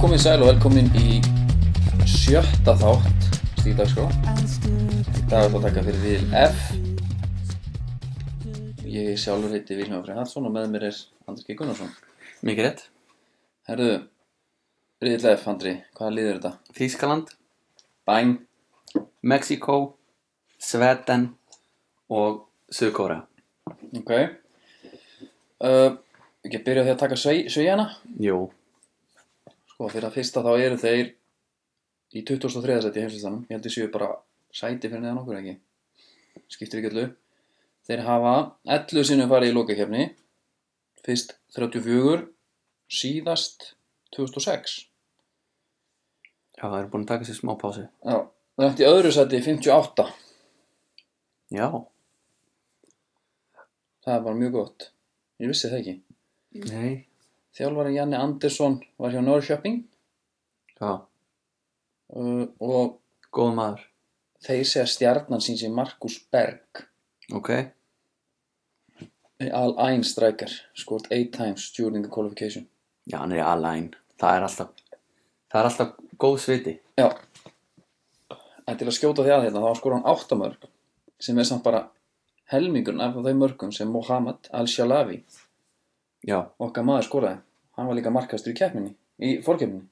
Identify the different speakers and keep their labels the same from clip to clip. Speaker 1: komið sæl og velkomin í sjötta þátt stíðdagskrá. Í dag er það að taka fyrir Vil F. Ég sjálfur heiti Vilhelm Freyhardsson og með mér er Andri G. Gunnarsson.
Speaker 2: Mikið rétt.
Speaker 1: Herðu, Riðil F. Andri, hvaða lið er þetta?
Speaker 2: Þýskaland,
Speaker 1: Bæn,
Speaker 2: Mexíkó, Sveten og Suðkóra.
Speaker 1: ok. Uh, ekki að byrja á því að taka sveigina.
Speaker 2: Jú.
Speaker 1: Sko, fyrir að fyrsta þá eru þeir í 2003. seti í heimslistanum. Ég held ég séu bara sæti fyrir neðan okkur ekki. Skiptir ekki öllu. Þeir hafa 11 sinnum farið í lokakefni. Fyrst 34, síðast 2006.
Speaker 2: Já, það eru búin að taka sér smá pásu.
Speaker 1: Já, það er eftir öðru seti í 58.
Speaker 2: Já.
Speaker 1: Það er bara mjög gott. Ég vissi það ekki.
Speaker 2: Nei.
Speaker 1: Þjálfari Janni Andersson var hjá Norrköping
Speaker 2: Já.
Speaker 1: uh, og
Speaker 2: Góð maður.
Speaker 1: þeir segja stjarnan sín sem Markus Berg.
Speaker 2: Ok.
Speaker 1: Al Ain striker, scored 8 times during the qualification.
Speaker 2: Já, hann er í alæn. Það er alltaf, það er alltaf góð sviti.
Speaker 1: Já. En til að skjóta því að hérna, þá skora hann 8 mörg sem er samt bara helmingurinn af þeim mörgum sem Mohamed Al-Shalavi
Speaker 2: Já.
Speaker 1: okkar maður skoraði. Hann var líka markastur í keppninni, í fórkeppninni.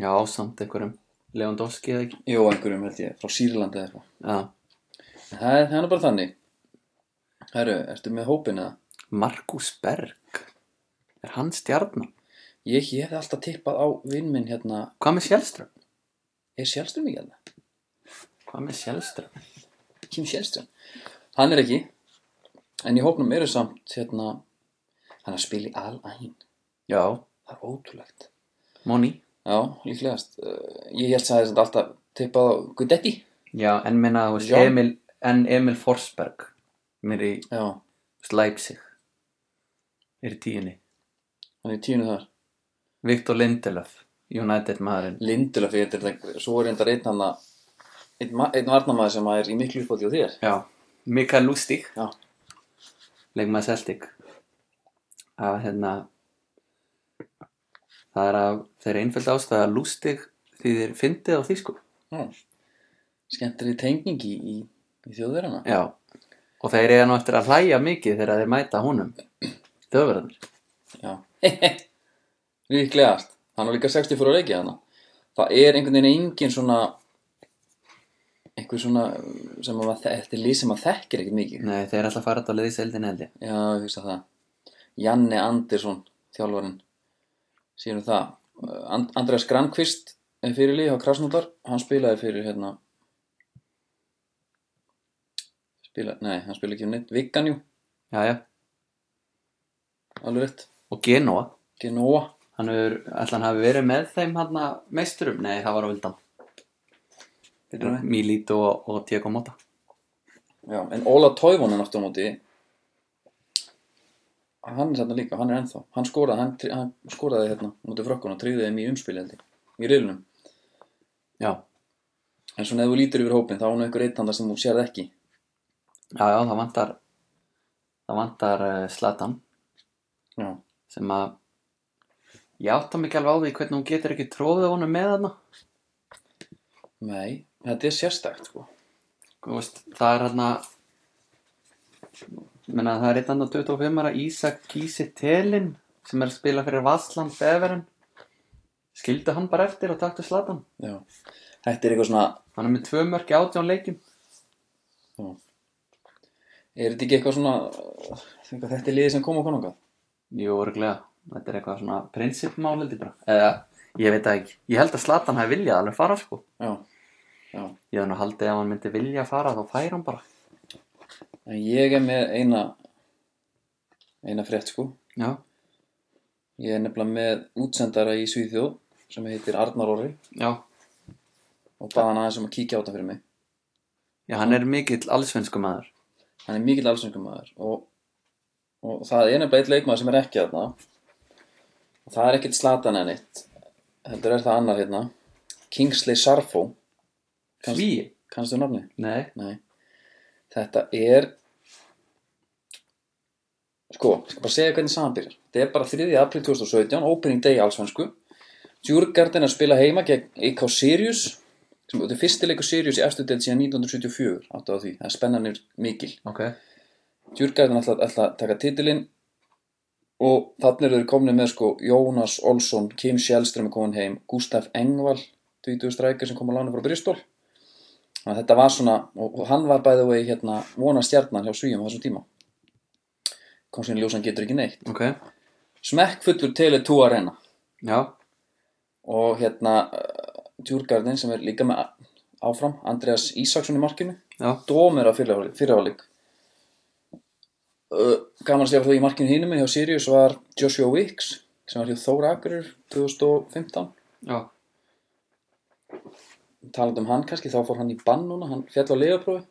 Speaker 2: Já, samt einhverjum. Lewandowski eða ekki.
Speaker 1: Jó, einhverjum held ég, frá Sýrlandi eða eitthvað.
Speaker 2: Já.
Speaker 1: En Það er, það er nú bara þannig. Herru, ertu með hópin eða?
Speaker 2: Markus Berg. Er hann stjarnan?
Speaker 1: Ég, ég hefði alltaf tippað á vinn minn hérna,
Speaker 2: Hvað með Sjælström?
Speaker 1: er Sjálström ekki hérna?
Speaker 2: Hvað með Sjælström?
Speaker 1: Kim Sjálström. Hann er ekki, en í hópnum eru samt hérna, hann er að spila í Al-Ain.
Speaker 2: Já.
Speaker 1: Það er ótrúlegt.
Speaker 2: Moni.
Speaker 1: Já, líklegast. Uh, Ég held að það er alltaf tippað á Gudetti.
Speaker 2: Já, en minna, þú veist,
Speaker 1: Jón.
Speaker 2: Emil, en Emil Forsberg. Mér í
Speaker 1: Já,
Speaker 2: Leipzig er í tíunni
Speaker 1: hann er í tíunum þar.
Speaker 2: Viktor Lindelöf, United maðurinn
Speaker 1: Lindulega fyrir þetta. er þetta- Svo er reyndar einn hann að, einn, ma- einn varnamaður sem er í miklu uppátti á þér.
Speaker 2: já, Mikael Lustig
Speaker 1: Já.
Speaker 2: leikmaður Celtic að hérna það er að þeir einföld ástæða að Lustig því þeir fyndið á þýsku
Speaker 1: Já. Hm. Skemmtileg tenging í, í, í þjóðverðana.
Speaker 2: já, og þeir eiga nú eftir að hlæja mikið þegar þeir mæta honum þauverðanir,
Speaker 1: Já. líklegast. Hann var líka 60 fyrir að leikja þarna. Það er einhvern veginn engin svona, einhver svona um, sem að maður, þe- þetta er lið sem maður þekkir ekkert mikið.
Speaker 2: nei þeir er alltaf að fara þetta á leiðis eldin eldi
Speaker 1: Já, ég hugsa það Janni Andersson, þjálfarinn Sýrum það Uh, And Andreas Granqvist er fyrirlið á Krasnodar, hann spilaði fyrir hérna spila, nei, hann spilaði ekki um neitt Vigganjú,
Speaker 2: já, já,
Speaker 1: alveg rétt
Speaker 2: og Genoa
Speaker 1: Genoa,
Speaker 2: Hann hefur, ætla hann hafi verið með þeim hann meisturum? Nei, það var á vildan.
Speaker 1: Bíddu nú við.
Speaker 2: Milito og, og Diego Mota.
Speaker 1: já, en Óla Toivonen aftur á móti hann er þarna líka, hann er ennþá hann skoraði, hann, tri- hann skoraði hérna móti frökkun og tryggði þeim í umspil held ég í reilunum,
Speaker 2: Já,
Speaker 1: en svona ef þú lítur yfir hópin þá er nú einhver eitt handa sem þú sérð ekki
Speaker 2: já, já, það vantar, það vantar uh, Slatan
Speaker 1: já,
Speaker 2: sem að, ég átta mig ekki alveg á því hvernig hún getur ekki tróðið honum með hana.
Speaker 1: Nei, þetta er sérstakt sko.
Speaker 2: Þú veist, það er hann að, menna það er eitt andan 25 ára Ísak Gísi Telin sem er að spila fyrir Vassland Beveren. Skildi hann bara eftir og takti Slatan.
Speaker 1: Já. Þetta er eitthvað svona,
Speaker 2: Hann er með tvö mörki átján leikjum.
Speaker 1: er þetta ekki eitthvað svona, uh, eitthvað, þetta er liðið sem kom og konungað?
Speaker 2: Jú, örglega. Þetta er eitthvað svona prinsipmál heldur bara. Eða, ég veit það ekki. Ég held að Slatan hafi viljað alveg fara sko.
Speaker 1: Já, já.
Speaker 2: Ég hef nú haldið að hann myndi vilja fara þá fær hann bara.
Speaker 1: En ég er með eina, eina frétt sko.
Speaker 2: Já,
Speaker 1: Ég er nefnilega með útsendara í Svíþjóð sem heitir Arnar Orri
Speaker 2: já.
Speaker 1: og bað hann aðeins um að kíkja á þetta fyrir mig.
Speaker 2: Já, hann er mikill allsvensku maður.
Speaker 1: Hann er mikill allsöngumæður og, og það er nefnilega eitt leikmaður sem er ekki þarna. Og það er ekkit slatan en eitt. Heldur er það annar hérna. Kingsley Sarfo, Kannst-
Speaker 2: Sví?
Speaker 1: kannstu nafnið?
Speaker 2: Nei.
Speaker 1: Nei, þetta er sko, ég skal bara segja hvernig saman byrjar þetta er bara 3. april 2017 opening day allsvensku Djurgarden að spila heima gegn EK Sirius sem þetta er fyrsti leikur Sirius í efstu deild síðan 1974 áttu á því, það er spennanir mikil
Speaker 2: Ok.
Speaker 1: Djurgarden ætla, ætla að taka titilinn og þannig eru þeir komnið með sko Jónas Olsson, Kim Sjælström er komin heim, Gustaf Engvall 20 strækir sem kom á lánu frá Bristol þannig að þetta var svona og, og hann var bæði vegi hérna vona stjarnan hjá Svíum á þessum tíma kom síðan ljósan getur ekki neitt
Speaker 2: Ok.
Speaker 1: smekkfullur Tele2 Arena
Speaker 2: Já.
Speaker 1: og hérna Djurgarden sem er líka með a- áfram Andreas Ísaksson í markinu
Speaker 2: Já.
Speaker 1: dómur af fyrirháleik Eh, gaman að segja frá því í markinu hinum hjá Sirius var Joshua Wicks sem var hjá Þóra Akurir 2015
Speaker 2: Já.
Speaker 1: talandi um hann kannski þá fór hann í bann núna hann fjall á legaprófi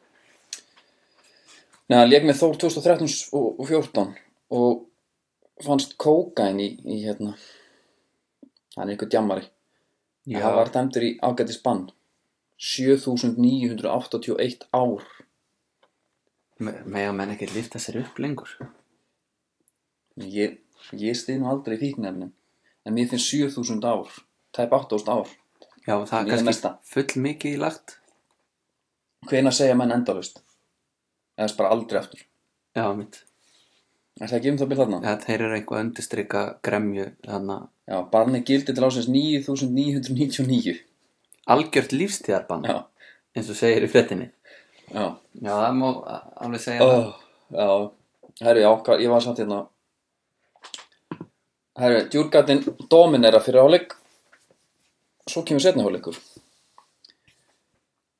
Speaker 1: Nei, hann leik með Þór 2013 og og 14 og fannst kókain í, í hérna hann er ykkur djammari Já. Það var dæmdur í ágætis bann 7981 ár
Speaker 2: Me- Mega menn ekki lifta sér upp lengur.
Speaker 1: Ég, ég stið nú aldrei fíknefnin En mér finnst 7000 ár Tæp 8000 ár
Speaker 2: Já, það er
Speaker 1: Ég er
Speaker 2: kannski
Speaker 1: mesta.
Speaker 2: full mikið í lagt.
Speaker 1: Hvena segja menn endalaust Eða þess bara aldrei aftur
Speaker 2: Já, mitt.
Speaker 1: Er það ekki um það byrð þarna?
Speaker 2: Já, þeir eru eitthvað að undirstrika gremju þannig að
Speaker 1: Já, barni gildi til ásins 9999
Speaker 2: algjört lífstíðarbann,
Speaker 1: Já,
Speaker 2: eins og segir í frettinni.
Speaker 1: já
Speaker 2: Já, það má alveg segja það.
Speaker 1: oh, Já, herru, já, hvað- ég var samt hérna Herru, djúrgatinn dominera fyrir áleik Svo kemur setni áleikur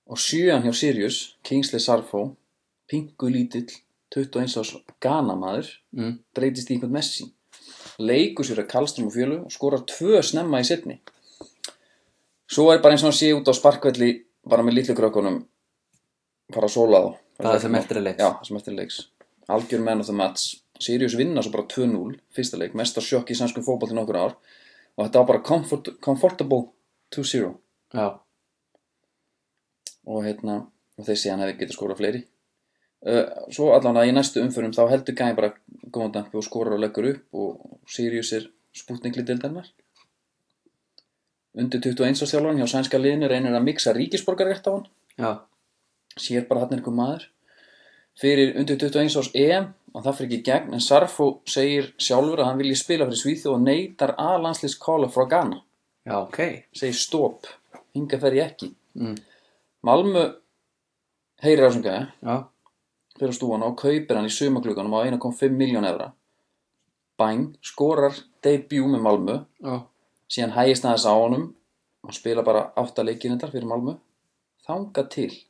Speaker 1: Og sjöan hjá Sirius, Kingsley Sarfó Pingu lítill, 21 árs ganamaður
Speaker 2: Mm.
Speaker 1: Breytist í einhvern Messi Leikur sér að Karlström og Fjölu Og skorar tvö snemma í setni Svo er bara eins og hann sé út á sparkvelli Bara með litlu krökkunum Fara að sóla þá
Speaker 2: Það er sem eftir er leiks.
Speaker 1: Já, það sem eftir er leiks Algjör man of the match Sirius vinna svo bara 2-0 Fyrsta leik, mesta sjokk í sænskum fótbolti nokkur ár Og þetta var bara comfort, comfortable 2-0
Speaker 2: Já.
Speaker 1: Og hérna, og þeir segja hann hefði getið skórað fleiri uh, Svo allan að í næstu umförum Þá heldur gæði bara góðan dampi og skorar og leggur upp Og Sirius er spútningli dildarnar Undir 21 ástjálfarinn hjá sænska liðinu reynir að mixa ríkisborgarrétt á hann
Speaker 2: Já.
Speaker 1: sér bara hann er einhver maður fyrir undir 21 árs EM og það fyrir ekki í gegn en Sarfo segir sjálfur að hann vilji spila fyrir Svíþjóð og neytar að landslýs kála frá Ghana
Speaker 2: Já, ok.
Speaker 1: segir stopp, hinga fer ég ekki
Speaker 2: Mm.
Speaker 1: Malmö heyrir á sem gæði
Speaker 2: Já.
Speaker 1: fyrir á stúana og kaupir hann í sumakluganum á 1,5 miljón evra Bang, skorar debut með Malmö
Speaker 2: Já.
Speaker 1: síðan hægist aðeins á honum hann spila bara 8 leikirindar fyrir Malmö þanga til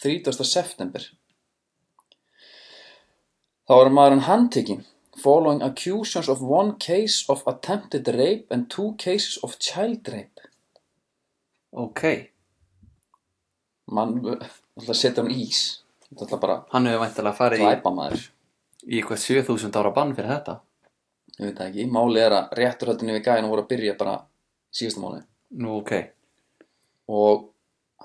Speaker 1: 30. september þá er maðurinn handtekinn following accusations of one case of attempted rape and two cases of child rape
Speaker 2: Ok.
Speaker 1: mann, alltaf að setja hann í ís þetta alltaf bara
Speaker 2: Hann hefur væntalega farið í,
Speaker 1: glæpa maður
Speaker 2: í eitthvað 7000 ára bann fyrir þetta.
Speaker 1: ég veit það ekki, málið er að rétturhaldinu við gæðinu voru að byrja bara síðasta mánuði
Speaker 2: Nú, ok.
Speaker 1: og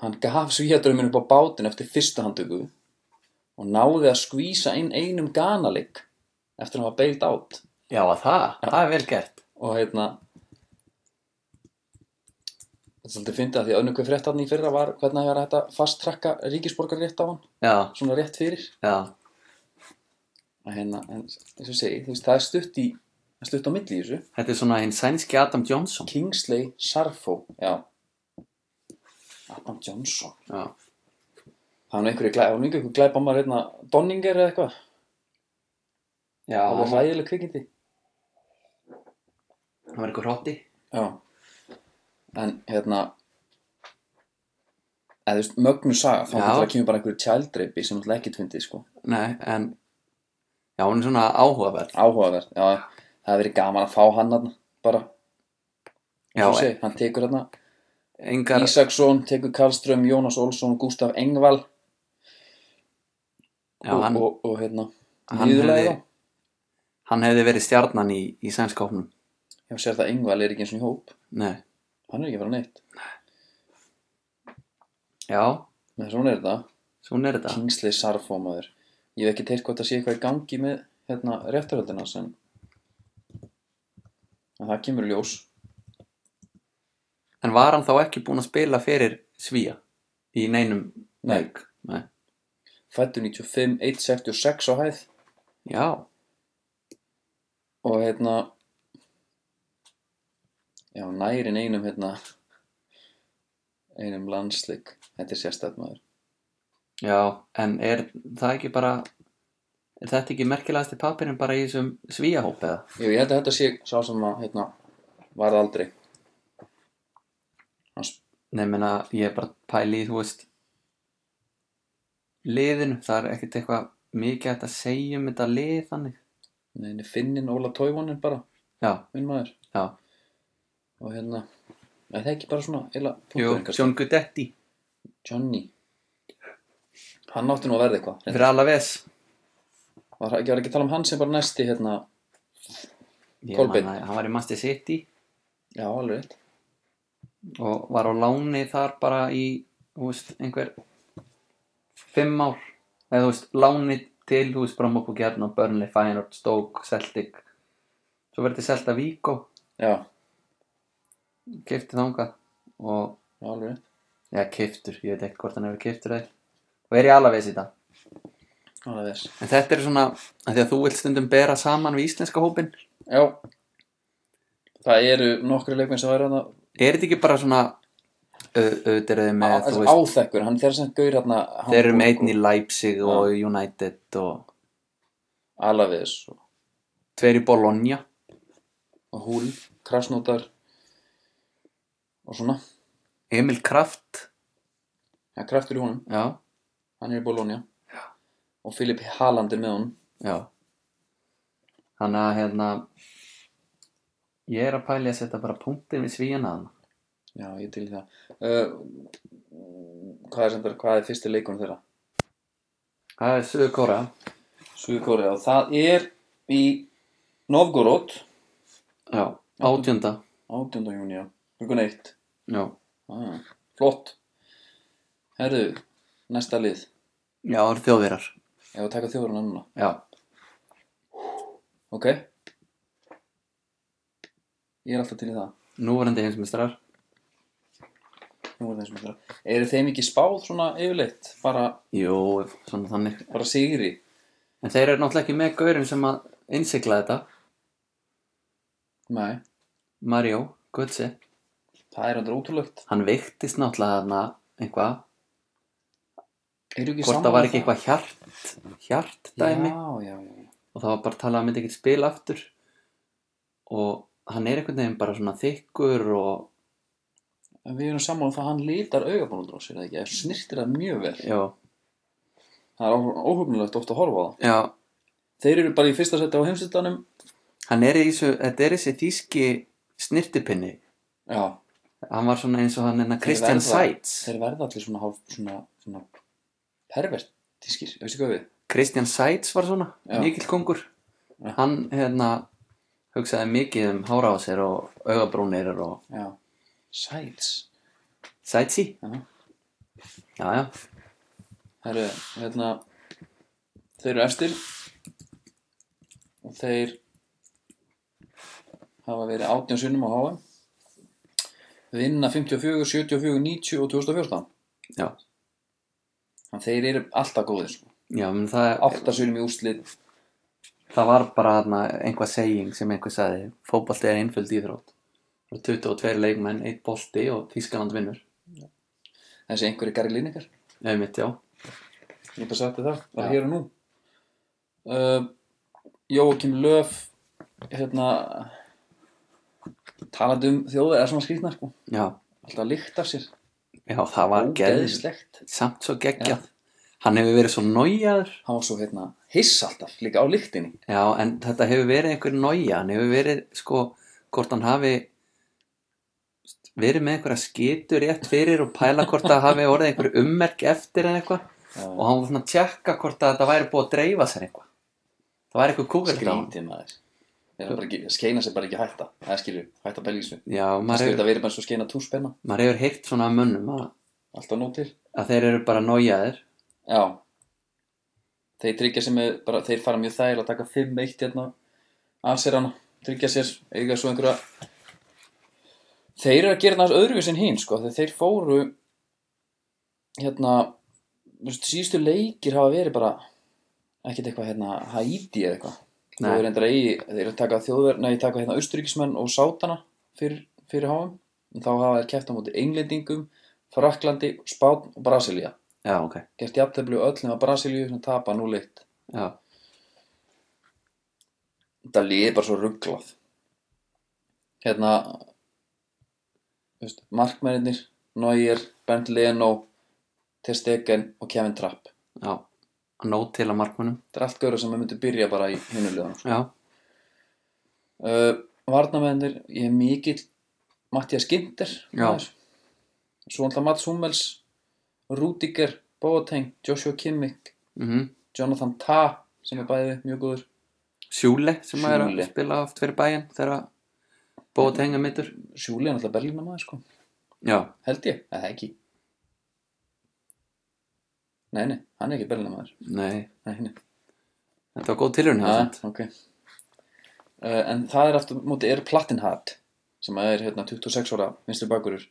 Speaker 1: hann gaf svíjadraumin upp á bátinn eftir fyrsta handtöku og náði að skvísa inn einum ganalik eftir að hann var beilt átt
Speaker 2: Já, að það. Það er vel gert.
Speaker 1: og hérna þetta er svolítið fyndið að því að önnur hver frétt hann í fyrra var hvernig hann var hægt að fasttrakka ríkisborgar rétt á hann
Speaker 2: Já.
Speaker 1: svona rétt fyrir
Speaker 2: Já.
Speaker 1: að hérna, en eins og ég segi, þú veist, það er stutt í það er stutt á milli í þessu
Speaker 2: Þetta er svona hinn sænski Adam Johnson.
Speaker 1: Kingsley Sarfo, já Adam Johnson
Speaker 2: Já.
Speaker 1: hann er einhverju glæð, hann er einhverju glæð bara maður hérna Donninger eða eitthvað
Speaker 2: Já.
Speaker 1: það var hlægileg kvikindi
Speaker 2: Hann var eitthvað hrótti.
Speaker 1: Já En hérna eða þú veist, mögnu saga þá
Speaker 2: Já.
Speaker 1: þetta kemur bara einhverju tjaldreipi sem alltaf ekki tvindið sko,
Speaker 2: Nei, en... Já, hún er svona áhugaverð.
Speaker 1: áhugaverð Já, það hefði verið gaman að fá hann hann bara,
Speaker 2: Já,
Speaker 1: svo segi, hann tekur hann
Speaker 2: engar...
Speaker 1: Ísaksson, tekur Karlström, Jónas Olsson Gustaf Engvall
Speaker 2: Já,
Speaker 1: og,
Speaker 2: hann,
Speaker 1: og, og hérna,
Speaker 2: hann, hefði,
Speaker 1: nýðurlega
Speaker 2: hann hefði verið stjarnan í, í sænska hófnum.
Speaker 1: Já, sér það Engvall er ekki eins og í hóp
Speaker 2: Nei.
Speaker 1: hann er ekki að fara neitt,
Speaker 2: Já,
Speaker 1: menn svona er þetta
Speaker 2: svona er þetta.
Speaker 1: Kingsley Sarfómaður ég hef ekki teilt hvort að sé eitthvað í gangi með hérna, réttarhöldina en en það kemur í ljós
Speaker 2: En var hann þá ekki búinn að spila fyrir Svíja í neinum
Speaker 1: Nei.
Speaker 2: leik? Nei.
Speaker 1: Fættu 95, 166 á hæð
Speaker 2: Já,
Speaker 1: og hérna já, nærin einum hérna einum landslik þetta er sérstætt maður
Speaker 2: já, en er það ekki bara, er þetta ekki merkilegasti pappirinn bara í þessum Svíjahóp eða?
Speaker 1: Jú, ég held að þetta sé sá sem að hérna, varð aldrei Hans,
Speaker 2: Nei, menna, ég er bara að pæla í, þú veist, liðinu, það er ekkert eitthvað mikið hægt að segja um þetta lið þannig.
Speaker 1: neini, Finnin Óla Tóivonin bara,
Speaker 2: Já,
Speaker 1: minn maður
Speaker 2: já,
Speaker 1: og hérna, er það ekki bara svona eila
Speaker 2: jú,
Speaker 1: punkturinn kannski,
Speaker 2: John Gudetti
Speaker 1: Johnny hann átti nú að verða eitthvað reyndar.
Speaker 2: fyrir Alaves.
Speaker 1: var það- ég var ekki að tala um hann sem bara næsti hérna,
Speaker 2: Ég
Speaker 1: Kolbeinn.
Speaker 2: man að Hann var í Master City
Speaker 1: já, alveg rétt
Speaker 2: og var á láni þar bara í, þú veist, einhver fimm ár. Eða, þú veist, láni til, þú veist, Bromopo Gjarn og Burnley, Feyenoord, Stoke, Celtic. Svo verði Celta Vigo,
Speaker 1: já,
Speaker 2: kefti þangað og
Speaker 1: alveg rétt
Speaker 2: Já, keiftur, ég veit ekki hvort hann hefur keiftur eða og er í alveg í dag
Speaker 1: alveg þess
Speaker 2: en þetta er svona, af því að þú vilt stundum bera saman við íslenska hópin
Speaker 1: já, það eru nokkri leikmenn sem væri hérna
Speaker 2: er þetta ekki bara svona au- auðvitað eru þið með,
Speaker 1: Á-
Speaker 2: þú
Speaker 1: þessi
Speaker 2: veist,
Speaker 1: áþekkur, hann þeirra sem gaur hérna
Speaker 2: þeir eru með
Speaker 1: Hamburg
Speaker 2: einn í Leipzig og United og
Speaker 1: og Alaves og
Speaker 2: tveir í Bologna
Speaker 1: og húl, krasnótar og svona
Speaker 2: Emil Kraft,
Speaker 1: ja, kraftur í honum,
Speaker 2: já,
Speaker 1: hann er í Bologna og Filip Haaland er með honum
Speaker 2: já þannig að hérna ég er að pæli að setja bara punktin við svíjana þarna
Speaker 1: já, ég til í það uh, hvað er sem þetta, hvað er fyrsti leikunum þeirra?
Speaker 2: það er Suður Kóra,
Speaker 1: Suðkóriða, það er í Novgorod
Speaker 2: já, átjönda
Speaker 1: 18. júni, já, hlugun 1
Speaker 2: já,
Speaker 1: ah, flott herðu, næsta lið
Speaker 2: já, það eru þjóðverjar
Speaker 1: ef að taka þjóðurinn annuna,
Speaker 2: já,
Speaker 1: ok ég er alltaf til í það
Speaker 2: núverandi heimsmeistrar
Speaker 1: Nú er það eins og myndra. Eru þeim ekki spáð svona yfirleitt? Bara,
Speaker 2: Jú, svona þannig.
Speaker 1: bara sigri?
Speaker 2: En þeir eru náttúrulega ekki með gaurinn sem að innsikla þetta.
Speaker 1: Nei,
Speaker 2: Mario, Gutsi.
Speaker 1: það er andur ótrúlegt.
Speaker 2: Hann veiktist náttúrulega þarna eitthvað.
Speaker 1: Eru ekki um
Speaker 2: Hvort það var ekki eitthvað hjart, hjartdæmi.
Speaker 1: Já, já, já.
Speaker 2: Og það var bara að tala að hann myndi ekkert spila aftur. Og hann er einhvern veginn bara svona þykkur og...
Speaker 1: En við erum saman um það að hann litar augabónundur á sér, eða ekki? Það snirtir það mjög vel.
Speaker 2: Já,
Speaker 1: Það er óhugnilegt oft að horfa á það.
Speaker 2: já.
Speaker 1: Þeir eru bara í fyrsta seti á heimstildanum.
Speaker 2: Hann er í þessu, þetta er þessi þýski snirtipinni.
Speaker 1: Já.
Speaker 2: Hann var svona eins og hann enna Christian
Speaker 1: verða-
Speaker 2: Seitz.
Speaker 1: Þeir verða allir svona hálf, svona, svona pervertískir, veistu hvað við?
Speaker 2: Christian Seitz var svona,
Speaker 1: Já.
Speaker 2: mikill kongur
Speaker 1: Já.
Speaker 2: hann hérna hugsaði mikið um hára á sér og augabrúnir og
Speaker 1: Já. Sæts.
Speaker 2: Seitzi
Speaker 1: Já.
Speaker 2: já, já,
Speaker 1: Herru, hérna Þeir eru efstir og þeir hafa verið 18 sunnum á HM vinna 54, 74, 90 og 2014
Speaker 2: já,
Speaker 1: Þannig þeir eru alltaf góðir sko.
Speaker 2: já menn það,
Speaker 1: 8 sunnum í úrslit
Speaker 2: það var bara hérna, einhvað seging sem einhver sagði fótbolti er einföld íþrótt og 22 leikmenn, eitt bolti og Þískaland vinnur
Speaker 1: þessi einhverju Gary Lineker
Speaker 2: eða mitt, já,
Speaker 1: ég bara sagði það, það
Speaker 2: Já.
Speaker 1: er hér og nú uh, Jóakim Löf hérna talandi um þjóðið er svona skrýtnar sko.
Speaker 2: já,
Speaker 1: alltaf líkt af sér,
Speaker 2: já það var geðist
Speaker 1: ógeðislegt
Speaker 2: samt svo geggjað hann hefur verið svo nójaður
Speaker 1: hann var svo hérna hiss alltaf líka á lyktinni
Speaker 2: Já, en þetta hefur verið einhver nája, hann hefur verið, sko, hvort hann hafi verið með einhverja skitur rétt fyrir og pæla hvort það hafi orðið einhver ummerk eftir eða eitthvað og hann var svona að tjekka hvort að þetta væri búið að dreifa sér eitthvað. Það væri eitthvað kúkert á hann.
Speaker 1: skrítið maður Þeir eru bara ekki, skeina sér bara ekki hætta það er skilju, hætta belgísu
Speaker 2: Já, maður
Speaker 1: skilju
Speaker 2: hefur,
Speaker 1: þetta verið bara svo skeina túspenna
Speaker 2: maður hefur heyrt svona af mönnum að,
Speaker 1: alltaf nóg til
Speaker 2: að þeir eru bara nájaðir.
Speaker 1: já þeir tryggja sér með bara, þeir fara mjög þægilega að taka 5-1 hérna af sér hann tryggja sér, eiga svo einhverja þeir eru að gera næst öðruvís en hinn sko þegar þeir fóru hérna þú veist, síðustu leikir hafa verið bara ekkert eitthvað hérna Haiti eða eitthvað
Speaker 2: Nei.
Speaker 1: þeir eru reyndar eigi, þeir eru að taka þjóðverð nei, taka hérna austuríkismenn og sátana fyrir, fyrir háum en þá hafa þeir keppt á móti englendingum Fraklandi, Spán og Brasilia
Speaker 2: Já, ok.
Speaker 1: gert jafntefli og öllum að Brasilíu sem tapa núleitt
Speaker 2: Já.
Speaker 1: þetta liði bara svo rugglað hérna þú veist, markmennir Neuer, Bernd Leno Ter Stegen og Kevin Trapp þetta
Speaker 2: Já. Nót til að markmunum.
Speaker 1: er allt göra sem við myndum byrja bara í hinulegum
Speaker 2: Já.
Speaker 1: uh, varnamennir, ég er mikill Mattias Ginter
Speaker 2: Já.
Speaker 1: maður. svo alltaf Mats Hummels Rudiger, Boateng Joshua Kimmich,
Speaker 2: Mm
Speaker 1: Jonathan Tah sem er bæði mjög góður
Speaker 2: Sjúle sem maður er
Speaker 1: Schüle.
Speaker 2: að spila oft fyrir bæinn þegar bóða tenga mittur.
Speaker 1: Sjúli er alltaf Berlína maður sko
Speaker 2: Já.
Speaker 1: held ég, eða ekki nei, nei, hann er ekki Berlína maður
Speaker 2: Nei.
Speaker 1: nei, nei,
Speaker 2: Þetta var góð tilhörn hjá
Speaker 1: að,
Speaker 2: þetta.
Speaker 1: ok uh, en það er aftur á móti er Plattenhardt sem er hérna 26 ára vinstri bakurur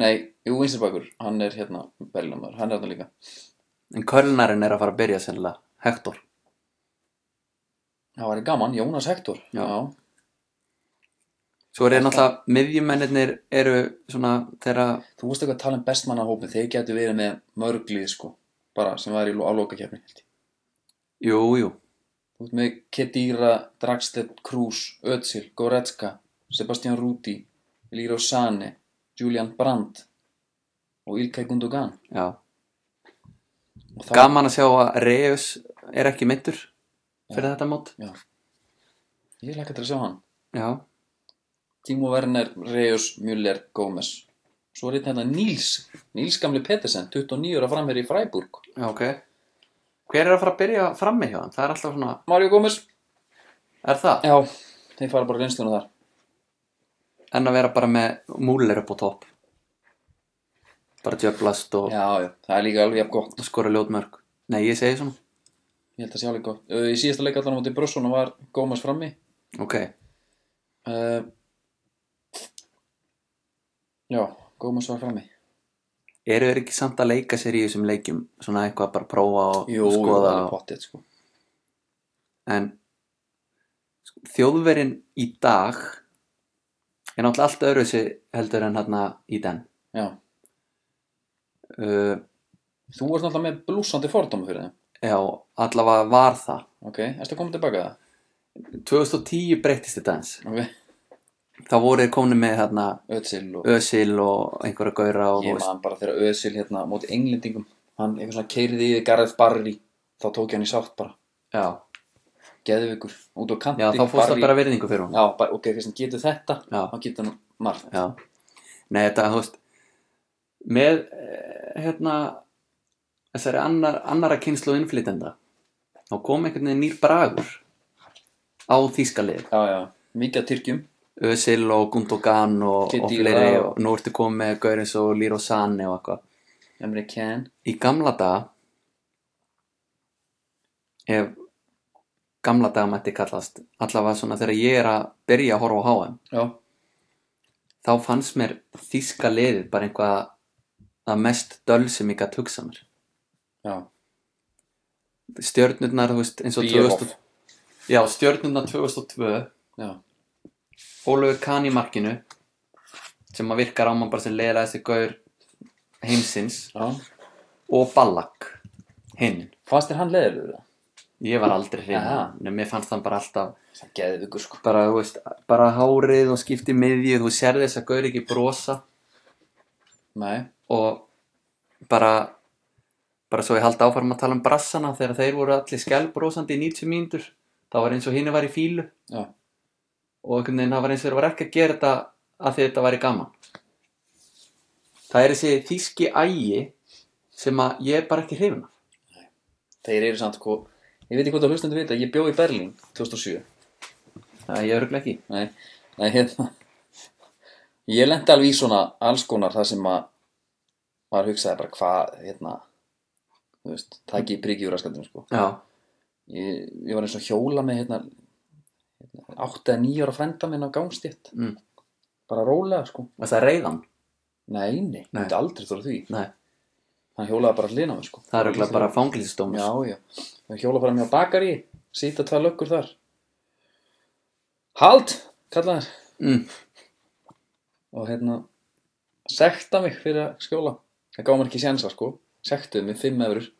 Speaker 1: nei, jú, vinstri bakur, hann er hérna Berlína maður, hann er hérna líka
Speaker 2: En kölnarinn er að fara að byrja sennilega. Hector.
Speaker 1: það var gaman, Jónas Hector
Speaker 2: Já.
Speaker 1: já,
Speaker 2: Svo er
Speaker 1: Alltaf.
Speaker 2: náttúrulega, miðjumennirnir eru svona þeirra,
Speaker 1: þú veist eitthvað að tala um bestmannahópi þeir getur verið með mörglið sko bara sem var í lo- á lokakefni held ég.
Speaker 2: jú, jú,
Speaker 1: þú veist með Kedira, Dragstedt, Krús Özil, Goretzka Sebastian Rudi, Liro Sane Julian Brandt og Ilkay Gundogan
Speaker 2: já.
Speaker 1: og það,
Speaker 2: Gaman að sjá að Reus er ekki mittur fyrir þetta mót.
Speaker 1: ég lakka til að sjá hann
Speaker 2: Já,
Speaker 1: Timo Werner, Reus, Müller, Gómez svo er þetta hérna Níls Níls gamli Pettersen, 29 ára framherri í Freiburg
Speaker 2: já, ok. Hver er að fara að byrja frammi hjá þeim? Það er alltaf svona,
Speaker 1: Mario Gómez,
Speaker 2: er það?
Speaker 1: já, þeir fara bara reynsluna þar
Speaker 2: En að vera bara með múlir upp á topp. Bara djöblast og,
Speaker 1: Já, já, það er líka alveg jafn gott
Speaker 2: og skora ljótmörk. Nei, ég segi svona.
Speaker 1: Ég held að sé alveg gott Ö, Í síðasta leik allan á móti Brössona var Gómas frammi
Speaker 2: Ok,
Speaker 1: uh, Já, Gómas var frammi
Speaker 2: eru þeir ekki samt að leika sér í þessum leikjum? Svona eitthvað bara prófa og
Speaker 1: Jú, jú, það
Speaker 2: skoða
Speaker 1: er
Speaker 2: og...
Speaker 1: pottið sko.
Speaker 2: en þjóðverin í dag er náttúrulega allt öðru heldur en hérna í den
Speaker 1: Já,
Speaker 2: uh,
Speaker 1: þú ert náttúrulega með blúsandi fordóma fyrir þeim
Speaker 2: já, allavega var það
Speaker 1: Ok, ertu að koma tilbaka það?
Speaker 2: 2010 breytist þetta eins
Speaker 1: Ok,
Speaker 2: þá voru þeir komin með hérna
Speaker 1: Özil og
Speaker 2: Ösil og einhverja gaura og
Speaker 1: Ég man bara þegar Özil hérna á móti englendingum Hann eitthvað svona keirði í Gareth Barry Þá tók ég hann í sátt bara
Speaker 2: já,
Speaker 1: Geðvikur, út á kanti
Speaker 2: já, þá fórst það
Speaker 1: Barry-
Speaker 2: bara virðingu fyrir hún
Speaker 1: Já, bara, ok, fyrst hann getur þetta
Speaker 2: Já.
Speaker 1: Hann getur hann margt
Speaker 2: já, nei þetta, þú veist með, eh, hérna þessari annar, annara kynslu innflytenda þá kom einhvern veginn nýr bragur á þýskalið
Speaker 1: Já, já, mikið af Tyrkjum
Speaker 2: Özil og Gundogan og, og
Speaker 1: Khedira
Speaker 2: fleiri
Speaker 1: og-
Speaker 2: og nú ertu komið með gaur eins og Liro Sane og eitthvað
Speaker 1: Emre Can
Speaker 2: í gamla daga ef gamla daga mætti kallast allavega svona þegar ég er að byrja að horfa á HM
Speaker 1: Já,
Speaker 2: þá fannst mér þýska liðið bara einhvað að mest döl sem ég gætt hugsa mér
Speaker 1: já,
Speaker 2: stjörnurnar, þú veist, eins og
Speaker 1: Bierhoff.
Speaker 2: 2000 já, stjörnurnar 2002
Speaker 1: já
Speaker 2: Ólafur Kahn í markinu sem að virkar á mann bara sem leiðilega þessi gaur heimsins
Speaker 1: Já,
Speaker 2: og Ballack hinn,
Speaker 1: fannst þér hann leiðilegur það?
Speaker 2: ég var aldrei
Speaker 1: Aha.
Speaker 2: hrein en mér fannst hann bara alltaf
Speaker 1: Það geðið ykkur sko
Speaker 2: bara, þú veist, bara hárið og skipti miðju þú sér þess að gaur ekki brosa
Speaker 1: Nei,
Speaker 2: og bara bara svo ég haldi áfram að tala um brassana þegar þeir voru allir skjálbrosandi í 90 mínútur þá var eins og hinn var í fílu
Speaker 1: já,
Speaker 2: og einhvern veginn það var eins og þeir var ekki að gera þetta að því þetta væri gaman það er þessi þýski ægi sem að ég er bara ekki hrifin af
Speaker 1: þeir eru samt sko Ég veit ekki hvort að hlustandi vita, ég bjó í Berlín 2007
Speaker 2: það er ég örglega ekki
Speaker 1: Nei, nei, hérna Ég lendi alveg í svona alls konar þar sem að maður hugsaði bara hvað, hérna þú veist, það ekki prikið úr raskandum sko
Speaker 2: já,
Speaker 1: ég, ég var eins og hjóla með hérna, hérna átta eða níu ára frænda minn á gangstétt
Speaker 2: Mm.
Speaker 1: bara rólega sko
Speaker 2: Þess að reyðan
Speaker 1: nei, nei,
Speaker 2: Nei.
Speaker 1: myndi aldrei þóra því
Speaker 2: Nei,
Speaker 1: hann hjólaði bara hlina mig sko
Speaker 2: það er örugglega bara fangilsdómur
Speaker 1: já, já, hann hjólaði bara mjög bakari sýta tvær löggur þar hald, kallaði þær
Speaker 2: mm.
Speaker 1: og hérna, sekta mig fyrir að skjóla það gáði mér ekki sénsa sko sektuði mig fimm efrur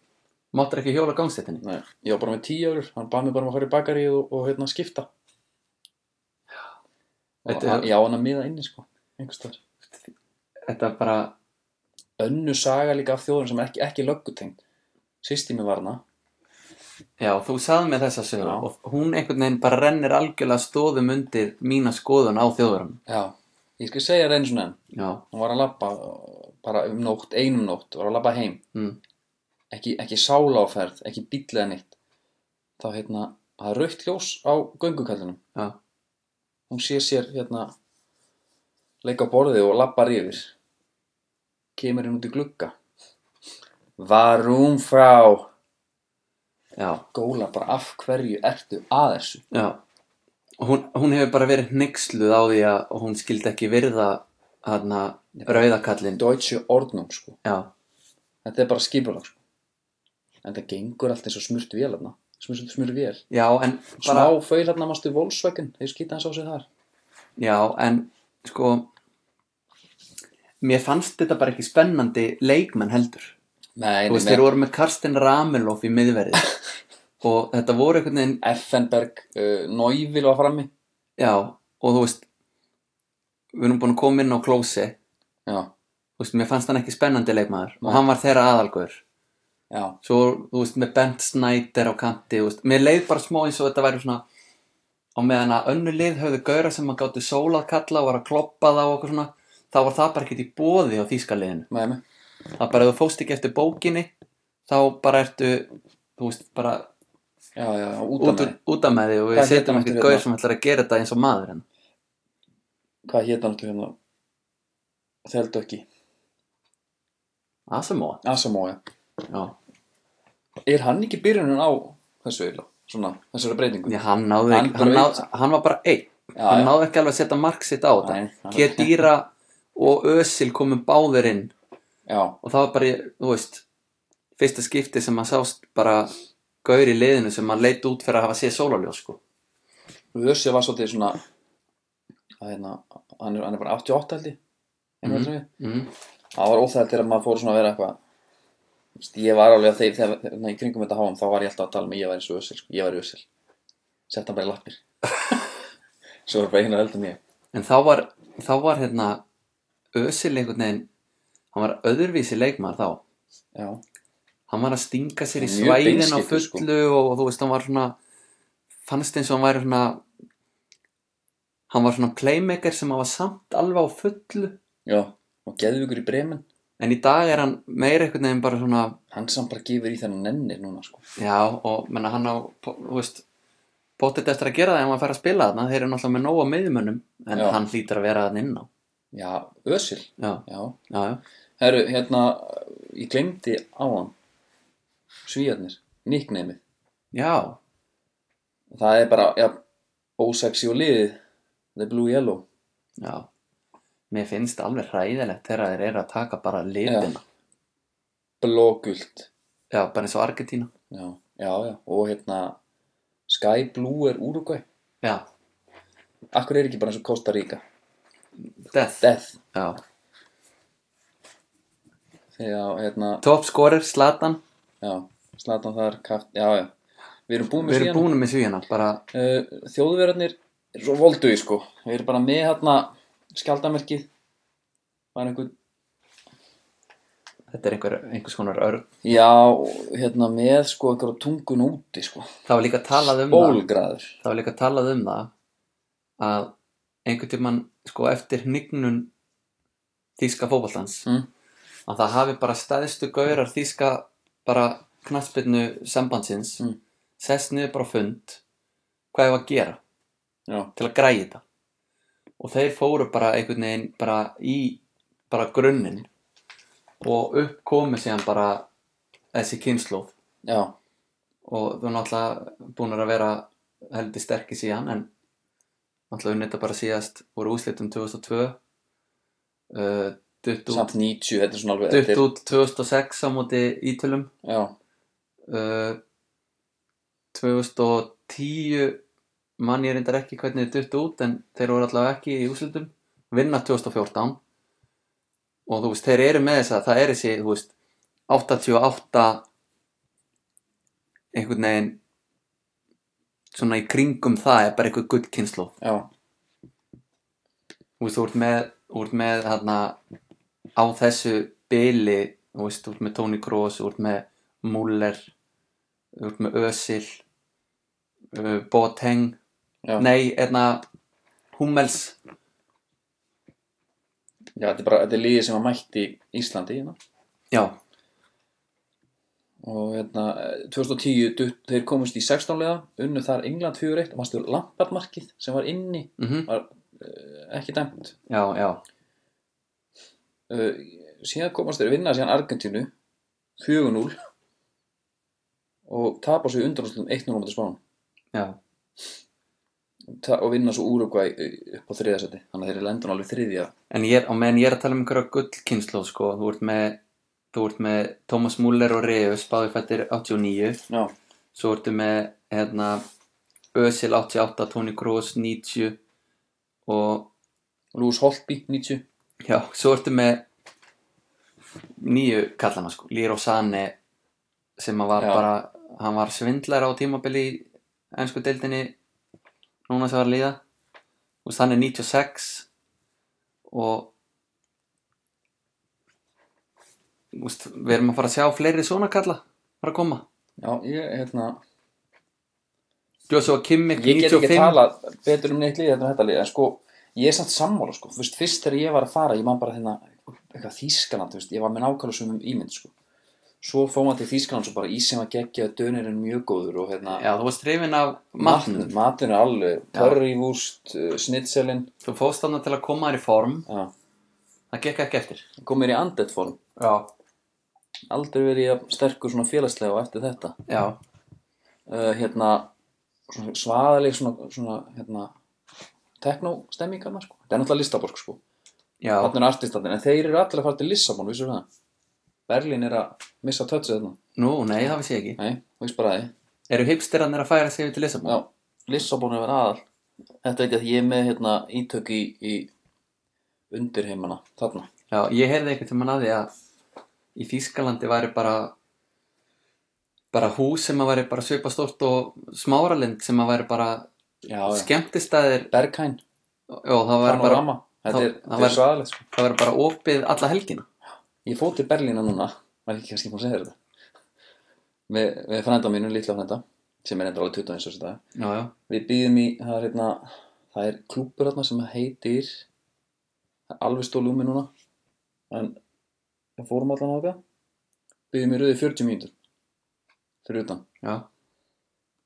Speaker 2: Máttur ekki hjóla gangstéttinni
Speaker 1: Nei, ég var bara með tíu efrur hann bað mér bara um að fara í bakari og, og hérna skipta og
Speaker 2: Þetta
Speaker 1: hann,
Speaker 2: er-
Speaker 1: já, hann að miða inni sko einhverstaðar
Speaker 2: Þetta er bara
Speaker 1: önnu saga líka af þjóðum sem er ekki, ekki löggutengd sýsti mér var hana
Speaker 2: Já, þú sagði mér þessa sögur
Speaker 1: Já.
Speaker 2: og hún einhvern veginn bara rennir algjörlega stóðum undir mína skoðun á þjóðurum
Speaker 1: já, ég skal segja reyni svona enn
Speaker 2: Já,
Speaker 1: hún var að labba uh, bara um nótt, einum nótt var að labba heim,
Speaker 2: mm.
Speaker 1: ekki, ekki sáláferð ekki bíll eða neitt þá hérna, það er raukt ljós á göngukallinum
Speaker 2: já,
Speaker 1: hún sé sér hérna leika á borðið og labbar yfir kemur henn út í glugga varum frá
Speaker 2: já,
Speaker 1: góla bara af hverju ertu að þessu
Speaker 2: já Og Hún, hún hefur bara verið hnyggsluð á því að hún skildi ekki virða hana rauðakallin
Speaker 1: deutsche ordnung sko
Speaker 2: Já,
Speaker 1: Þetta er bara skipulag sko. En það gengur allt eins og smurt vél hérna. Smurt, smurt vél.
Speaker 2: já, en
Speaker 1: Smá föl hérna mástu Volkswagen. Þeir skýta hans á sig þar.
Speaker 2: Já, en sko mér fannst þetta bara ekki spennandi leikmenn heldur.
Speaker 1: Nei,
Speaker 2: Þú veist,
Speaker 1: nei,
Speaker 2: þeir voru með Karsten Rameloff í miðverði og þetta voru einhvern veginn,
Speaker 1: Effenberg, uh, Neuville var frammi.
Speaker 2: já, og þú veist við erum búin að koma inn á klósi
Speaker 1: Já,
Speaker 2: þú veist, mér fannst hann ekki spennandi leikmaður
Speaker 1: Nei.
Speaker 2: og hann var þeirra aðalgur
Speaker 1: já,
Speaker 2: svo, þú veist, með Bent Snyder á kanti, þú veist, mér leið bara smá eins og þetta væri svona og meðan að önnu lið höfðu gauðra sem að gáttu sólað kalla og var að kloppa þá og okkur svona þá var það bara ekkert í bóði á þýskaliðinu
Speaker 1: með mig.
Speaker 2: það er bara ef þú fóst ekki eftir bókinni þá bara ertu þú veist bara
Speaker 1: Já, já, já, út af
Speaker 2: út,
Speaker 1: með.
Speaker 2: út af með þig og við
Speaker 1: Hvað hét
Speaker 2: setjum
Speaker 1: hann
Speaker 2: ekkert
Speaker 1: aftur
Speaker 2: gaur
Speaker 1: hérna?
Speaker 2: sem ætlar að gera þetta eins og maður en
Speaker 1: Hvað hétt hann til hérna? Þeldu ekki.
Speaker 2: Asamoa,
Speaker 1: Asamoa.
Speaker 2: já,
Speaker 1: Er hann ekki byrjunin á þessu eiginlega? Svona, þessari breytingu?
Speaker 2: já hann náði
Speaker 1: Hann
Speaker 2: ekki, hann,
Speaker 1: bara
Speaker 2: náð,
Speaker 1: veit-
Speaker 2: hann var bara einn
Speaker 1: já,
Speaker 2: hann
Speaker 1: já.
Speaker 2: náði ekki alveg að setja mark sitt á þetta
Speaker 1: Nei, hann-
Speaker 2: Kedýra og Ösil komum báðir inn
Speaker 1: já,
Speaker 2: og það var bara, þú veist fyrsta skipti sem maður sást bara gaur í liðinu sem maður leit út fyrir að hafa séð sólaljós sko
Speaker 1: Össi var svolítið svona, að hérna, hann er, hann er bara 88 held ég. Mm
Speaker 2: Mhm.
Speaker 1: -hmm.
Speaker 2: mm.
Speaker 1: það var óþægt þegar maður fór svona að vera eitthvað Þú veist, ég var alveg að þegar, þegar, þegar nei, í kringum þetta háum þá var ég alltaf að tala með ég væri svo össil, sko, ég væri össil sett hann bara í lappir svo var bara einar eldur mér
Speaker 2: En þá var, þá var hérna Ösil einhvern veginn hann var öðurvísi leikmaður þá
Speaker 1: já,
Speaker 2: hann var að stinga sér í
Speaker 1: Mjög
Speaker 2: svæðin á fullu
Speaker 1: beinskeyttur, sko.
Speaker 2: og þú veist hann var svona fannst eins og hann væri svona hann var svona playmaker sem hann var samt alveg á fullu
Speaker 1: já, og geðvíkur í bremen
Speaker 2: en í dag er hann meira einhvern veginn bara svona
Speaker 1: hann samt bara gefur í þennan nennir núna sko.
Speaker 2: já og menna hann á po- þú veist bóttið eftir að gera það ef hann fær að spila þarna þeir eru náttúrulega með nóga meðumönnum en
Speaker 1: Já.
Speaker 2: hann hlýtur að vera þarna inn á
Speaker 1: já, össil
Speaker 2: já,
Speaker 1: já,
Speaker 2: já, já,
Speaker 1: herru, hérna ég glemdi á hann svíjarnir, nicknamið
Speaker 2: já,
Speaker 1: það er bara, já, ósexy og liðið the blue yellow
Speaker 2: já. mér finnst alveg hræðilegt þegar þeir eru að taka bara litina
Speaker 1: blógult
Speaker 2: Já, bara eins og Argentína.
Speaker 1: Já, já, já, og hérna Sky Blue er Uruguay
Speaker 2: Já,
Speaker 1: Akkur er ekki bara eins og Costa Rica
Speaker 2: Death.
Speaker 1: Death
Speaker 2: Já.
Speaker 1: Þegar, hérna,
Speaker 2: Top scorer, Zlatan.
Speaker 1: já, Slatan þar, Kaft, já, já Við erum búin
Speaker 2: Við
Speaker 1: með
Speaker 2: erum
Speaker 1: síðan
Speaker 2: búin með svíjana, bara,
Speaker 1: uh, Þjóðverðarnir er svo volduði, sko Við erum bara með, hérna, skjaldamerkið Var einhver,
Speaker 2: þetta er einhver, einhvers konar örn.
Speaker 1: já, og hérna, með, sko, einhverja tungun úti, sko
Speaker 2: Það var líka talað um það.
Speaker 1: Bólgraður
Speaker 2: Það var líka talað um það að einhvern tímann, sko, eftir hnignun þýska fótballtans,
Speaker 1: Mm.
Speaker 2: að það hafi bara staðistu gaurar þýska bara knattspyrnu sambandsins,
Speaker 1: Mm.
Speaker 2: sest niður bara á fund, hvað hefur að gera?
Speaker 1: Já,
Speaker 2: til að græja þetta og þeir fóru bara einhvern veginn bara í bara grunninn og upp komi síðan bara þessi kynnslóð
Speaker 1: já,
Speaker 2: og þú náttúrulega búin að vera heldur sterkir síðan en Náttúrulega unnið þetta bara síðast voru úrslitum 2002 uh, Dutt út,
Speaker 1: Samt 90, þetta er svona alveg
Speaker 2: dutt
Speaker 1: þetta er-
Speaker 2: út 2006 á móti Ítölum
Speaker 1: Já,
Speaker 2: uh, 2010 mann ég reyndar ekki hvernig þið dutt út en þeir voru allavega ekki í úrslitum vinna 2014 og þú veist, þeir eru með þess að það er þessi, þú veist 88 einhvern veginn svona í kringum það er bara einhver gullkynslu
Speaker 1: já,
Speaker 2: þú veist, þú ert með, þú ert með þarna, á þessu byli, þú veist, þú ert með Toni Kroos, þú ert með Muller, þú ert með Özil, uh, Boateng,
Speaker 1: já
Speaker 2: nei, einna, Hummels,
Speaker 1: Já, þetta er bara, þetta er liðið sem að mætti Íslandi hérna.
Speaker 2: já,
Speaker 1: og hérna, eh, 2010 dutt, þeir komust í 16 liða, unnu þar England 4-1 og mannstu Lampardmarkið sem var inni
Speaker 2: mhm,
Speaker 1: var uh, ekki dæmt
Speaker 2: já, já,
Speaker 1: uh, síðan komast þeir að vinna síðan Argentínu 4-0 og tapa svo í undanúrslitum 1-0 á móti Spán
Speaker 2: já,
Speaker 1: Ta- og vinna svo Úrugvæ upp á þriðasæti þannig að þeir eru lendun alveg þriðja
Speaker 2: en ég er, á meðan ég er að tala um einhverja gullkynslu, sko, þú ert með, þú ert með Thomas Muller og Reus, báði fættir 89,
Speaker 1: já,
Speaker 2: Svo ertu með hérna, Özil 88, Toni Kroos 90 og
Speaker 1: Lús Holtby 90
Speaker 2: já, svo ertu með nýju kallana sko, Liro Sane sem að var
Speaker 1: Já.
Speaker 2: bara, hann var svindlar á tímabili í ennsku deildinni núna sem var að líða og hann er 96 og Úst, við erum að fara að sjá fleiri svona kalla fara að koma
Speaker 1: já, ég, hérna,
Speaker 2: Joshua Kimmich
Speaker 1: ég get ekki
Speaker 2: 95.
Speaker 1: tala betur um neitt lið þetta en þetta lið en sko, ég er samt sammála sko. Þú veist, fyrst þegar ég var að fara, ég man bara hérna eitthvað Þýskaland, þú veist, ég var með nákvæmlega sumum ímynd sko. svo fór maður til Þýskaland svo bara ísinn var geggjað, dönir en mjög góður og hérna,
Speaker 2: Já, þú varst hrifin af matnum.
Speaker 1: matnum matnum er alveg,
Speaker 2: Já.
Speaker 1: törrývúst snitselin,
Speaker 2: Þú fóðst þarna til að koma þér í form.
Speaker 1: já,
Speaker 2: Það gekk ekki eftir.
Speaker 1: komir í andett form
Speaker 2: Já.
Speaker 1: aldrei verið ég sterkur svona félagslega og eftir þetta
Speaker 2: Já.
Speaker 1: uh, hérna svona svaðaleg svona, svona hérna teknóstemmingarna sko þetta er náttúrulega listaborg sko
Speaker 2: Já.
Speaker 1: þarna er artistatinn en þeir eru allir að fara til Lissabon vissu það Berlín er að missa tötsu þarna
Speaker 2: Nú, nei, það vissi ég ekki.
Speaker 1: nei, þú veist bara því
Speaker 2: Eru hipsterarnir að færa sig yfir til Lissabon?
Speaker 1: já, Lissabon er verið aðal þetta veit ég að ég er með hérna ítök í, í undirheimana þarna
Speaker 2: Já, ég heyrði einhvern tímann að því að í Þýskalandi væri bara bara hús sem að væri bara svipa stort og smáralind sem að væri bara
Speaker 1: já,
Speaker 2: skemmtistæðir
Speaker 1: Berghain,
Speaker 2: og það væri bara,
Speaker 1: Panorama þetta er,
Speaker 2: þá- það
Speaker 1: þetta
Speaker 2: var-
Speaker 1: er svaðalegt sko
Speaker 2: það væri bara opið alla helgina.
Speaker 1: Ég fór til Berlína núna, var ekki kannski búin að segja þér þetta með, með frænda mínu, litla frænda sem er endur alveg 21 þessu dag
Speaker 2: Já, já.
Speaker 1: Við býðum í, það er hérna það er klúpur hérna sem heitir það er alveg stólu um mig núna en við fórum allan á þetta býðum í rauði 40 mínútur fyrir utan
Speaker 2: Já.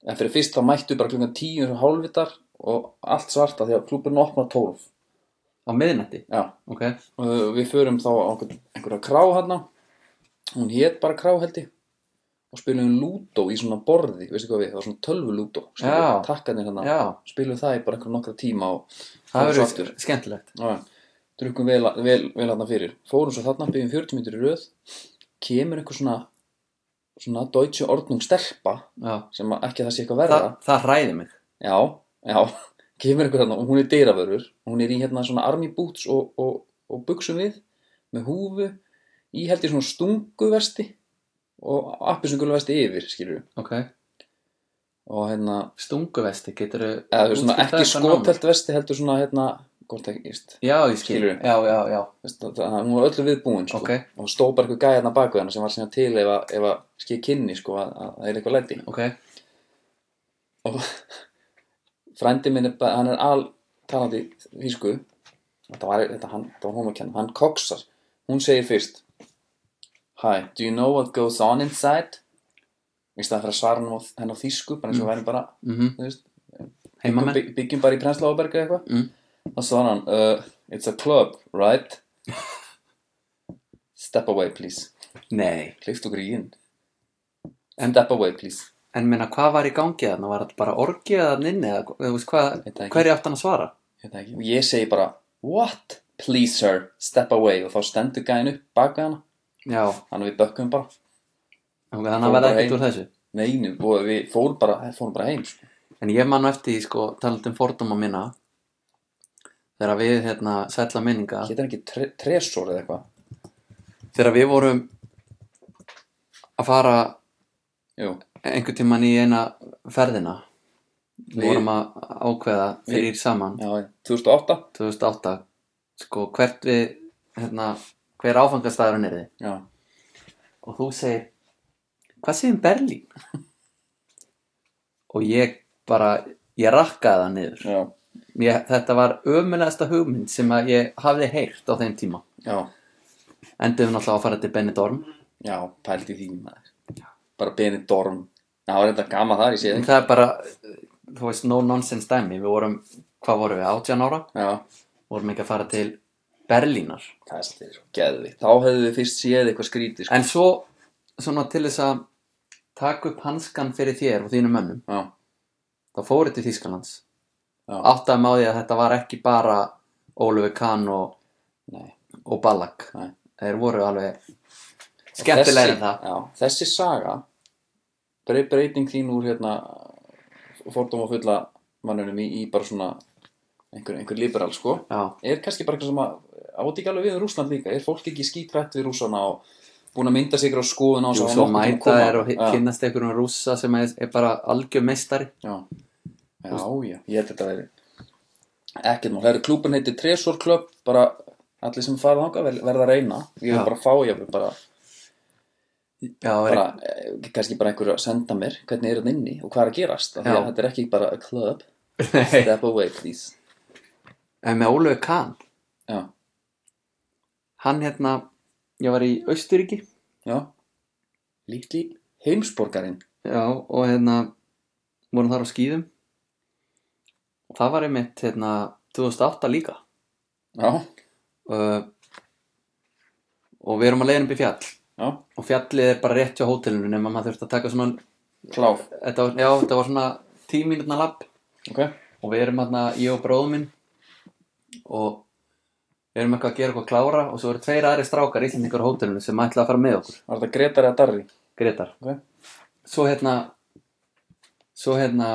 Speaker 1: en fyrir fyrst þá mættu bara klukkan 10 og hálfvitar og allt svarta því að klúpurinn opnar 12
Speaker 2: Á miðnætti.
Speaker 1: Já,
Speaker 2: Ok.
Speaker 1: uh, við förum þá á einhver- einhverja krá hérna hún hét bara krá held ég og spilum lúdó í svona borði veistu hvað við, það var svona tölvu lúdó
Speaker 2: Já.
Speaker 1: takkanir hérna,
Speaker 2: Já.
Speaker 1: spilum það í bara einhverja nokkra tíma og
Speaker 2: Það
Speaker 1: fórum svo
Speaker 2: verður
Speaker 1: aftur
Speaker 2: skemmtilegt.
Speaker 1: Já, drukum vel, vel, vel hérna fyrir fórum svo þarna, byggjum 40 mínútur í röð kemur einhver svona svona deutsche ordnung stelpa
Speaker 2: Já.
Speaker 1: sem að ekki að það sé eitthvað verða
Speaker 2: Það, það hræði mig.
Speaker 1: já, já, kemur einhver hérna og hún er dyravörur, hún er í hérna svona army boots og, og, og buksum við með húfu, í held ég svona stunguvesti og appisungulvesti yfir, skilur við
Speaker 2: Ok.
Speaker 1: og hérna,
Speaker 2: Stunguvesti, getur
Speaker 1: eða þú veist svona ekki skotelt vesti heldur svona hérna, hvort ekki, veist
Speaker 2: Já, ég skil,
Speaker 1: Skilurðu?
Speaker 2: já, já, já,
Speaker 1: veist, það- það- hún var öllu viðbúin sko.
Speaker 2: ok,
Speaker 1: og stóð bara eitthvað gæði hérna baku hérna sem var síðan til ef að, ef að skil kynni sko, að, að það er eitthvað læti
Speaker 2: ok
Speaker 1: og frændi minn er bara, hann er al talandi þýsku þetta var, þetta, hann, þetta var hún að kenna, hann koksar hún segir fyrst Hi, do you know what goes on inside? í staðan fyrir að svara hann á, henn á þýsku bara eins og
Speaker 2: Mm.
Speaker 1: væri bara,
Speaker 2: mm
Speaker 1: þú veist
Speaker 2: Heimamenn,
Speaker 1: bygg- byggjum bara í Prensláberg eða eitthvað
Speaker 2: Mm.
Speaker 1: og svo hann, uh, it's a club, right? Step away, please
Speaker 2: nei
Speaker 1: Klift okkur í inn
Speaker 2: En-
Speaker 1: Step away, please
Speaker 2: En minna, hvað var í gangi þarna? Var þetta bara orgið þarna inni eða þú veist hvað,
Speaker 1: Veit það ekki.
Speaker 2: hverju átt hann að svara?
Speaker 1: Ég veit það ekki. Og ég segi bara, what? Please sir, step away. Og þá stendur gæðin upp baka hana.
Speaker 2: Já,
Speaker 1: Þannig að við bökkum bara.
Speaker 2: ok,
Speaker 1: Fór
Speaker 2: þannig að verða
Speaker 1: bara heim.
Speaker 2: ekkert úr þessu.
Speaker 1: Neinum. Og við fórum bara, fórum bara heim, sko.
Speaker 2: En ég man nú eftir, því, sko, talandi um fordóma minna, þegar við, hérna, sætla minninga,
Speaker 1: Getur hann ekki tre tresor eða eitthvað?
Speaker 2: þegar við vorum að fara
Speaker 1: Jú.
Speaker 2: einhvern tíman í eina ferðina, við
Speaker 1: Við-
Speaker 2: vorum að ákveða þrýr saman,
Speaker 1: Já, já. 2008?
Speaker 2: 2008, sko, hvert við, hérna, hver áfangastæðurinn er þið?
Speaker 1: Já.
Speaker 2: og þú segir hvað segir um Berlín? og ég bara ég rakkaði það niður
Speaker 1: Já.
Speaker 2: ég, þetta var ömulegasta hugmynd sem að ég hafði heyrt á þeim tíma
Speaker 1: Já.
Speaker 2: endiðum náttúrulega að fara til Benidorm
Speaker 1: Já, pældi því maður. Bara Benidorm. Það var reynda gama þar, ég sé
Speaker 2: en
Speaker 1: það.
Speaker 2: það er bara þú veist, no nonsense dæmi við vorum, hvað vorum við, 18 ára
Speaker 1: Já.
Speaker 2: vorum ekki að fara til Berlínar
Speaker 1: Það er sliðið svo geðvitt. Þá hefðu við fyrst séð eitthvað skrítið, sko.
Speaker 2: en svo, svona til þess að taka upp hanskan fyrir þér og þínum mönnum
Speaker 1: Já.
Speaker 2: þá fóru til Þýskalands
Speaker 1: Já.
Speaker 2: áttaði mig á því að þetta var ekki bara Ólöfi Kahn og,
Speaker 1: Nei.
Speaker 2: og Ballack
Speaker 1: Nei.
Speaker 2: þeir voru alveg skemmtilegir en
Speaker 1: Þessi-
Speaker 2: það
Speaker 1: Já, þessi saga brey- breyting þín úr hérna fordóma fulla mannunum í, í bara svona einhver, einhver liberal sko
Speaker 2: já,
Speaker 1: er kannski bara eitthvað sem að átt ekki alveg við um Rússland líka, er fólk ekki skítrætt við Rússana og búin að mynda sig ykkur á skoðun á
Speaker 2: Jú, svo mæta er og hi- kynnast einhverjum rússa sem er, er bara algjör meistari
Speaker 1: Já, já, já, ég held þetta veri ekkert mál, það eru klúbun heitir Tresor Club, bara allir sem fara þangað vel- verða að reyna ég vil
Speaker 2: Já.
Speaker 1: bara fá, ég vil bara
Speaker 2: já, bara,
Speaker 1: bara, eh, kannski bara einhverju að senda mér hvernig er þetta inni og hvað er að gerast af því
Speaker 2: Já.
Speaker 1: að þetta er ekki bara a club
Speaker 2: en
Speaker 1: step away please
Speaker 2: með Ólöfi Kahn
Speaker 1: já,
Speaker 2: hann hérna, ég var í Austuríki
Speaker 1: já lítli heimsborgarinn
Speaker 2: já, og hérna vorum þar á skýðum og það var einmitt hérna 2008 líka
Speaker 1: já,
Speaker 2: uh, og við erum að leiðin upp í fjall
Speaker 1: já,
Speaker 2: og fjallið er bara rétt hjá hótelinu nema maður þurfti að taka svona
Speaker 1: kláf
Speaker 2: þetta var, já, þetta var svona tíu mínútna lapp
Speaker 1: ok,
Speaker 2: og við erum þarna, ég og bróðum minn og við erum eitthvað að gera eitthvað klára og svo eru tveir aðri strákar íslendingar á hótelinu sem ætla að fara með okkur
Speaker 1: var þetta Gretar eða Darri
Speaker 2: Gretar
Speaker 1: Ok.
Speaker 2: svo hérna svo hérna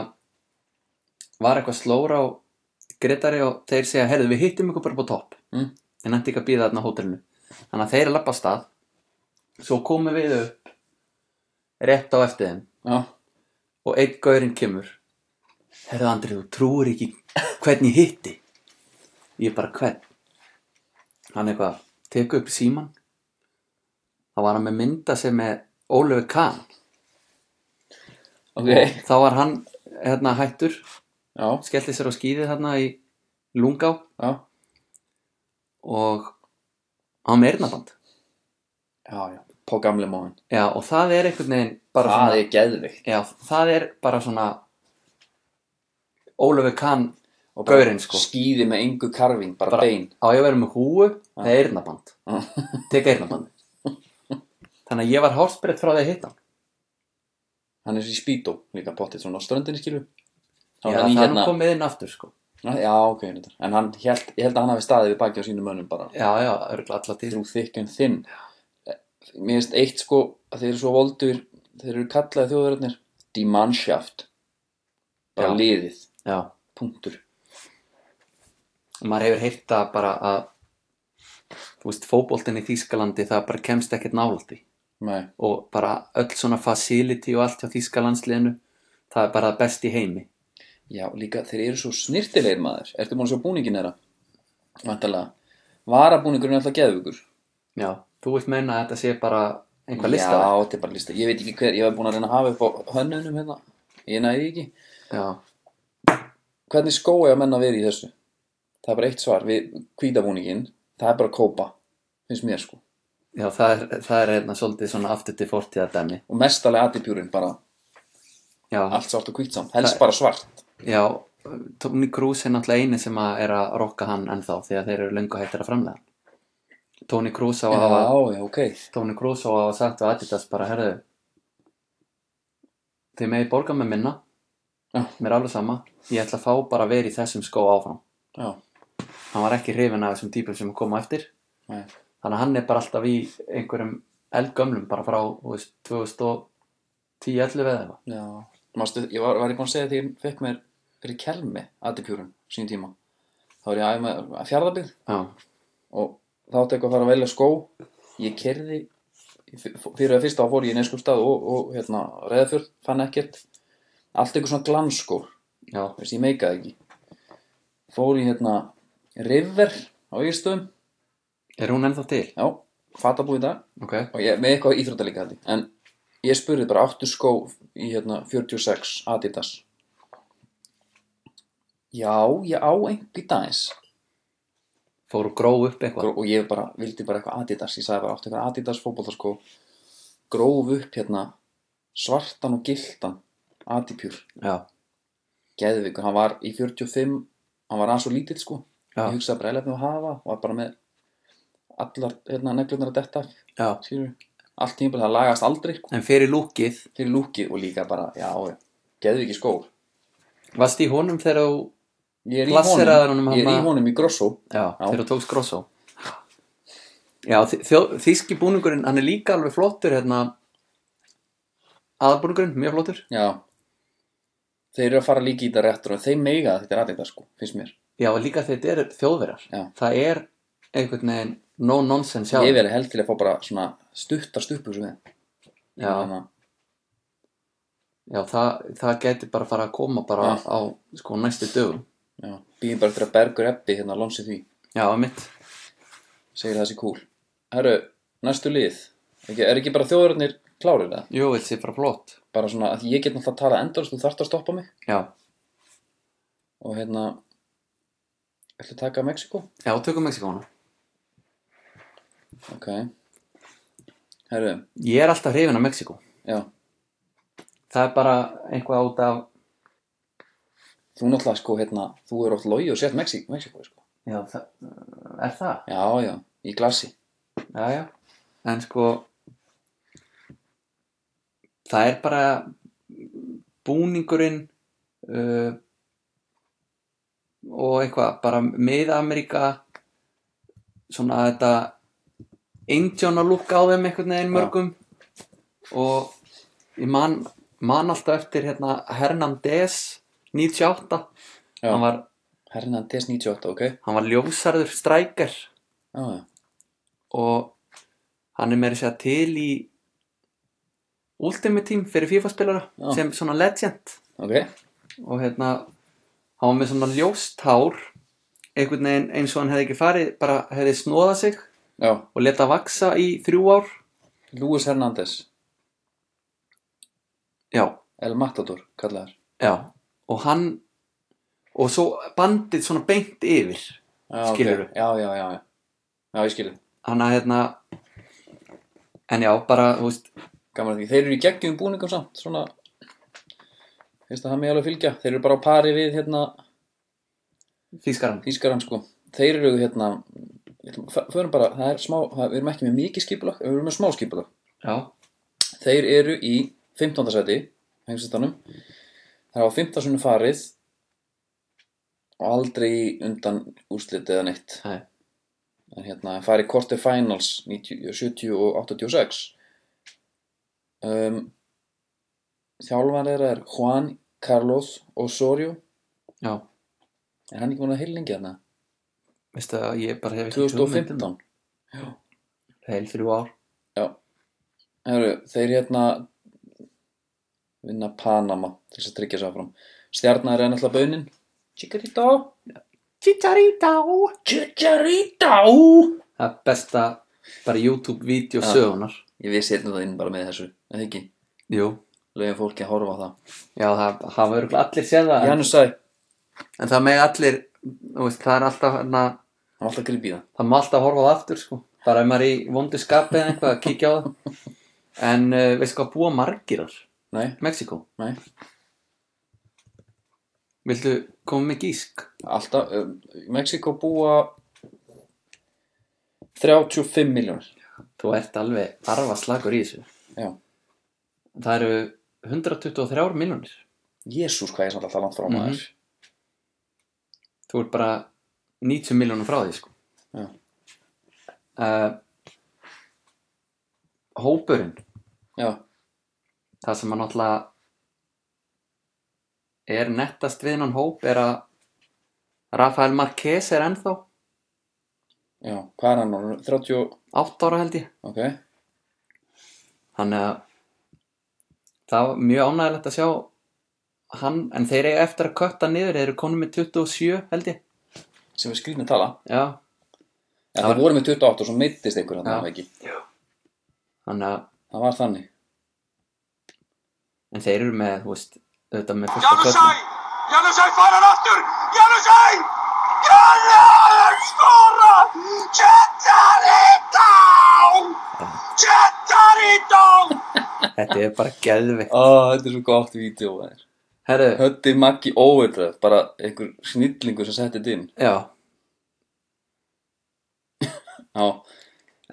Speaker 2: var eitthvað slóra á Gretari og þeir segja, heyrðu við hittum ykkur bara upp á topp
Speaker 1: Mm.
Speaker 2: en ætti ekki að býða þarna á hótelinu þannig að þeir lappa af stað svo komum við upp rétt á eftir þeim
Speaker 1: já,
Speaker 2: og einn gaurinn kemur Herðu Andri, þú trúir ekki hvern ég hitti Ég bara hvern Hann eitthvað, teku upp síman Það var hann með mynda sem með Ólöfi Kahn
Speaker 1: ok
Speaker 2: og þá var hann hérna hættur
Speaker 1: já,
Speaker 2: skellti sér á skíðið hérna í Lungá
Speaker 1: já,
Speaker 2: og hann með erðnaband
Speaker 1: já, já på gamle móðin,
Speaker 2: Já, og það er einhvern veginn bara
Speaker 1: það
Speaker 2: svona
Speaker 1: er geðvikt
Speaker 2: Já, það er bara svona Ólöfi Kahn
Speaker 1: og bara
Speaker 2: Gaurinn, sko.
Speaker 1: skíði með engu karving, bara,
Speaker 2: Bara-
Speaker 1: bein
Speaker 2: á ég að vera með húu eða eyrnaband
Speaker 1: Já.
Speaker 2: tek eyrnaband þannig að ég var hálsbreytt frá því að hitta hann
Speaker 1: hann er svo í spýtó, líka pottið svona á ströndinni skilu
Speaker 2: já, það er nú komið inn aftur sko
Speaker 1: hérna- já, ok, reyndar. en hann held, ég held að hann hafi staðið við baki á sínum mönnum bara
Speaker 2: já, já, örgulega alla tíð
Speaker 1: through thick and thin mér finnst eitt sko að þeir eru svo voldur þeir eru kallaði þjóðverðarnir die Mannschaft bara
Speaker 2: Já.
Speaker 1: liðið,
Speaker 2: já,
Speaker 1: punktur
Speaker 2: maður hefur heyrta bara að þú veist, fótboltinn í Þýskalandi það bara kemst ekkert nálægt því
Speaker 1: Nei.
Speaker 2: og bara öll svona facility og allt hjá Þýskalandsliðinu það er bara best í heimi
Speaker 1: já, líka þeir eru svo snirtilegir maður ertu búin að sjá búningin þeirra vantalega, varabúningurinn er alltaf geðugur
Speaker 2: já, þú vilt meina að þetta sé bara einhvað
Speaker 1: já,
Speaker 2: listaverk
Speaker 1: þetta er bara lista, ég veit ekki hver ég var búin að reyna að hafa upp á hönnunum hérna ég næði ekki,
Speaker 2: já,
Speaker 1: hvernig skó er að menna verið í þessu það er bara eitt svar, við hvítabúningin það er bara kópa, finnst mér sko
Speaker 2: já, það er, það er hérna svolítið svona aftur til fortíða dæmi
Speaker 1: og mestalega atipjúrin bara
Speaker 2: já,
Speaker 1: allt svart og hvítt samt, helst bara svart
Speaker 2: Já, Tony Cruz er náttúrulega eini sem að er að rokka hann ennþá því að þeir eru löngu hættir að framlega hann. Tony Cruz á að hafa
Speaker 1: já, já, ok
Speaker 2: Tony Cruz á að hafa sagt við Adidas bara, herðu þið megi borga með minna
Speaker 1: Já.
Speaker 2: mér er alveg sama ég ætla að fá bara að vera í þessum skó áfram
Speaker 1: Já,
Speaker 2: hann var ekki hrifin af þessum típum sem koma eftir
Speaker 1: nei,
Speaker 2: þannig að hann er bara alltaf í einhverjum eldgömlum bara frá þú veist, 2010 11 eða eitthvað
Speaker 1: já Mastu, Ég var, var ég búin að segja því ég fekk mér fyrir kelmi aðdipjúrun sín tíma þá var ég að æfa að fjarðabyggð
Speaker 2: já,
Speaker 1: og þá átti eitthvað að fara að velja skó ég kerði fyrir að fyrsta á fór ég í neinskjöfstað og, og hérna, reðafjörð, fann ekkert allt eitthvað svona glanskó
Speaker 2: já,
Speaker 1: veist, ég meikaði ekki fór í hérna River á Írstöðum
Speaker 2: er hún ennþá til?
Speaker 1: já, fatabúið það
Speaker 2: ok,
Speaker 1: og ég, með eitthvað íþrótta líka held ég en ég spurði bara áttu skó í hérna 46 Adidas já, ég á einhvern dagins
Speaker 2: fóru gró upp eitthvað
Speaker 1: og ég bara, vildi bara eitthvað Adidas ég sagði bara áttu eitthvað Adidas fótboltaskó gróf upp hérna svartan og gildan Adipjur,
Speaker 2: já,
Speaker 1: geðvikur, hann var í 45 hann var aðeins svo lítill sko
Speaker 2: já,
Speaker 1: ég hugsaði bara eða að hafa og var bara með allar hérna, neglurnar að detta af,
Speaker 2: já
Speaker 1: skilur allt tímpil, það lagast aldrei sko,
Speaker 2: en fyrir lúkið,
Speaker 1: fyrir lúkið og líka bara, já, já, geðu ekki skór
Speaker 2: varst í honum þegar þú
Speaker 1: ég er í
Speaker 2: Glasseraður
Speaker 1: honum,
Speaker 2: honum
Speaker 1: ég er í
Speaker 2: hann að-
Speaker 1: honum í grosso
Speaker 2: já, þegar þú tókst grosso já, þi- þjó- þýski búningurinn hann er líka alveg flottur hérna aðbúningurinn, mjög flottur
Speaker 1: já þeir eru að fara líka í þetta réttur og þeir meiga að þetta er aðeins sko, finnst mér
Speaker 2: já, og líka þegar þetta er þjóðverjar
Speaker 1: Já.
Speaker 2: það er einhvern veginn no nonsense hjá
Speaker 1: ég
Speaker 2: þeim.
Speaker 1: verið held til að fá bara svona stuttar stupur sem þeim
Speaker 2: Já. já, það, það gæti bara fara að koma bara
Speaker 1: Já.
Speaker 2: á sko næstu dögum
Speaker 1: já, býðum bara eftir að bergur eppi hérna lónsi því,
Speaker 2: já, mitt,
Speaker 1: segir það sé cool herru, næstu lið ekki, er ekki bara þjóðurinnir klárir það?
Speaker 2: jú, vil sé bara flott
Speaker 1: bara svona að ég get náttúrulega að tala endurst þú þarft að stoppa mig
Speaker 2: já,
Speaker 1: og hérna ætla að taka Mexiko
Speaker 2: já, tökum Mexikóna
Speaker 1: ok herru,
Speaker 2: ég er alltaf hrifin af Mexikó
Speaker 1: já
Speaker 2: það er bara einhvað át af
Speaker 1: þú náttúrulega sko hérna, þú er oft logi og sett Mexiko, Mexiko sko.
Speaker 2: já, það, er það?
Speaker 1: já, já, í glassi
Speaker 2: Já, já. En sko, það er bara búningurinn uh, og eitthvað, bara mið-Ameríka, svona þetta indjóna lúk á þeim einhvern veginn mörgum og ég man, man alltaf eftir hérna Hernandez 98,
Speaker 1: Já.
Speaker 2: hann var,
Speaker 1: Hernandez 98, ok
Speaker 2: hann var ljósarður strækjar
Speaker 1: já, já,
Speaker 2: og hann er meira að segja til í Ultimate Team fyrir
Speaker 1: Já.
Speaker 2: FIFA-spilara sem svona legend
Speaker 1: ok
Speaker 2: og hérna hann var með svona ljóst hár einhvern veginn eins og hann hefði ekki farið bara hefði snóðað sig
Speaker 1: já,
Speaker 2: og leta vaksa í þrjú ár
Speaker 1: Luis Hernandez
Speaker 2: já,
Speaker 1: El Matador, kallaðar
Speaker 2: já og hann og svo bandið svona beint yfir
Speaker 1: já, ok.
Speaker 2: Skilurðu?
Speaker 1: já, já, já, já, já, ég skilur
Speaker 2: hann að hérna en já, bara, þú veist
Speaker 1: gaman að því, þeir eru í geggjum búningum samt svona finnst að það með alveg fylgja þeir eru bara á pari við hérna
Speaker 2: fískaran
Speaker 1: Þýskarann sko, þeir eru hérna ég ætlum- f- förum bara, það er smá það, við erum ekki með mikið skipulag, við erum með smá skipulag
Speaker 2: já,
Speaker 1: þeir eru í 15. seti heimsættanum það var 15. sunni farið og aldrei í undan úrslit eða neitt
Speaker 2: Nei.
Speaker 1: en hérna, en farið quarter finals 90, 70 og 86 um, þjálfan þeirra er Juan Carlos Osorio
Speaker 2: já
Speaker 1: er hann ekki múin að heilingi hérna?
Speaker 2: veistu að ég bara hef ekki hugmynd um
Speaker 1: 2015
Speaker 2: það. heil þrjú ár
Speaker 1: Heru, þeir hérna vinna Panama til þess að tryggja sér áfram stjarnar er náttúrulega baunin Chicarito
Speaker 2: Chicharito
Speaker 1: Chicharito
Speaker 2: Það er besta bara YouTube-vídeó
Speaker 1: Já.
Speaker 2: sögunar
Speaker 1: ég vissi hérna það inn bara með þessu en ekki,
Speaker 2: Jú
Speaker 1: lögum fólki að horfa á það
Speaker 2: Já, það hafa örugglega allir séð það en,
Speaker 1: Janus sagði,
Speaker 2: en það með allir þú veist, Það er alltaf hérna
Speaker 1: hann var alltaf að grípa í það
Speaker 2: Það má alltaf horfa á það aftur sko Bara ef maður er í vondu skapi eða eitthvað að kíkja á það En uh, veistu hvað búa margir þar?
Speaker 1: nei,
Speaker 2: Mexiko
Speaker 1: nei,
Speaker 2: Viltu koma með gísk?
Speaker 1: alltaf um, Mexiko búa 35 miljónir
Speaker 2: Þú ert alveg arfa slagur í þessu
Speaker 1: já,
Speaker 2: Það eru 123 miljonir
Speaker 1: Jésús hvað ég er samt alltaf langt frá
Speaker 2: Mhm.
Speaker 1: maður
Speaker 2: þú ert bara 90 miljónum frá því sko
Speaker 1: Já.
Speaker 2: uh, hópurinn
Speaker 1: Já,
Speaker 2: það sem að náttúrulega er nettast við hann hóp er að Rafael Marquez er ennþá
Speaker 1: já, hvað er hann? orðinn? 30 og...
Speaker 2: 8 ára held ég
Speaker 1: Ok,
Speaker 2: þannig að það var mjög ánægilegt að sjá hann, en þeir eru eftir að kötta niður, þeir eru konum með 27 held ég
Speaker 1: sem við skrýnum tala
Speaker 2: já,
Speaker 1: Já,
Speaker 2: Það
Speaker 1: það
Speaker 2: var-
Speaker 1: voru með 28 og svo meittist einhver
Speaker 2: Já.
Speaker 1: hann ekki
Speaker 2: þannig að
Speaker 1: Það var þannig
Speaker 2: en þeir eru með, þú veist, auðvitað með fullt af
Speaker 3: Janusaj!
Speaker 2: köttum
Speaker 3: Janusaj færar aftur! Janusaj! Janusaj skora! Chicharito! Chicharito!
Speaker 2: þetta er bara geðveikt
Speaker 1: Ó, þetta er svo gott vídeo maður.
Speaker 2: herru,
Speaker 1: Höddi Maggi Overdrive, bara einhver snillingu sem setti þetta inn
Speaker 2: já,
Speaker 1: Já,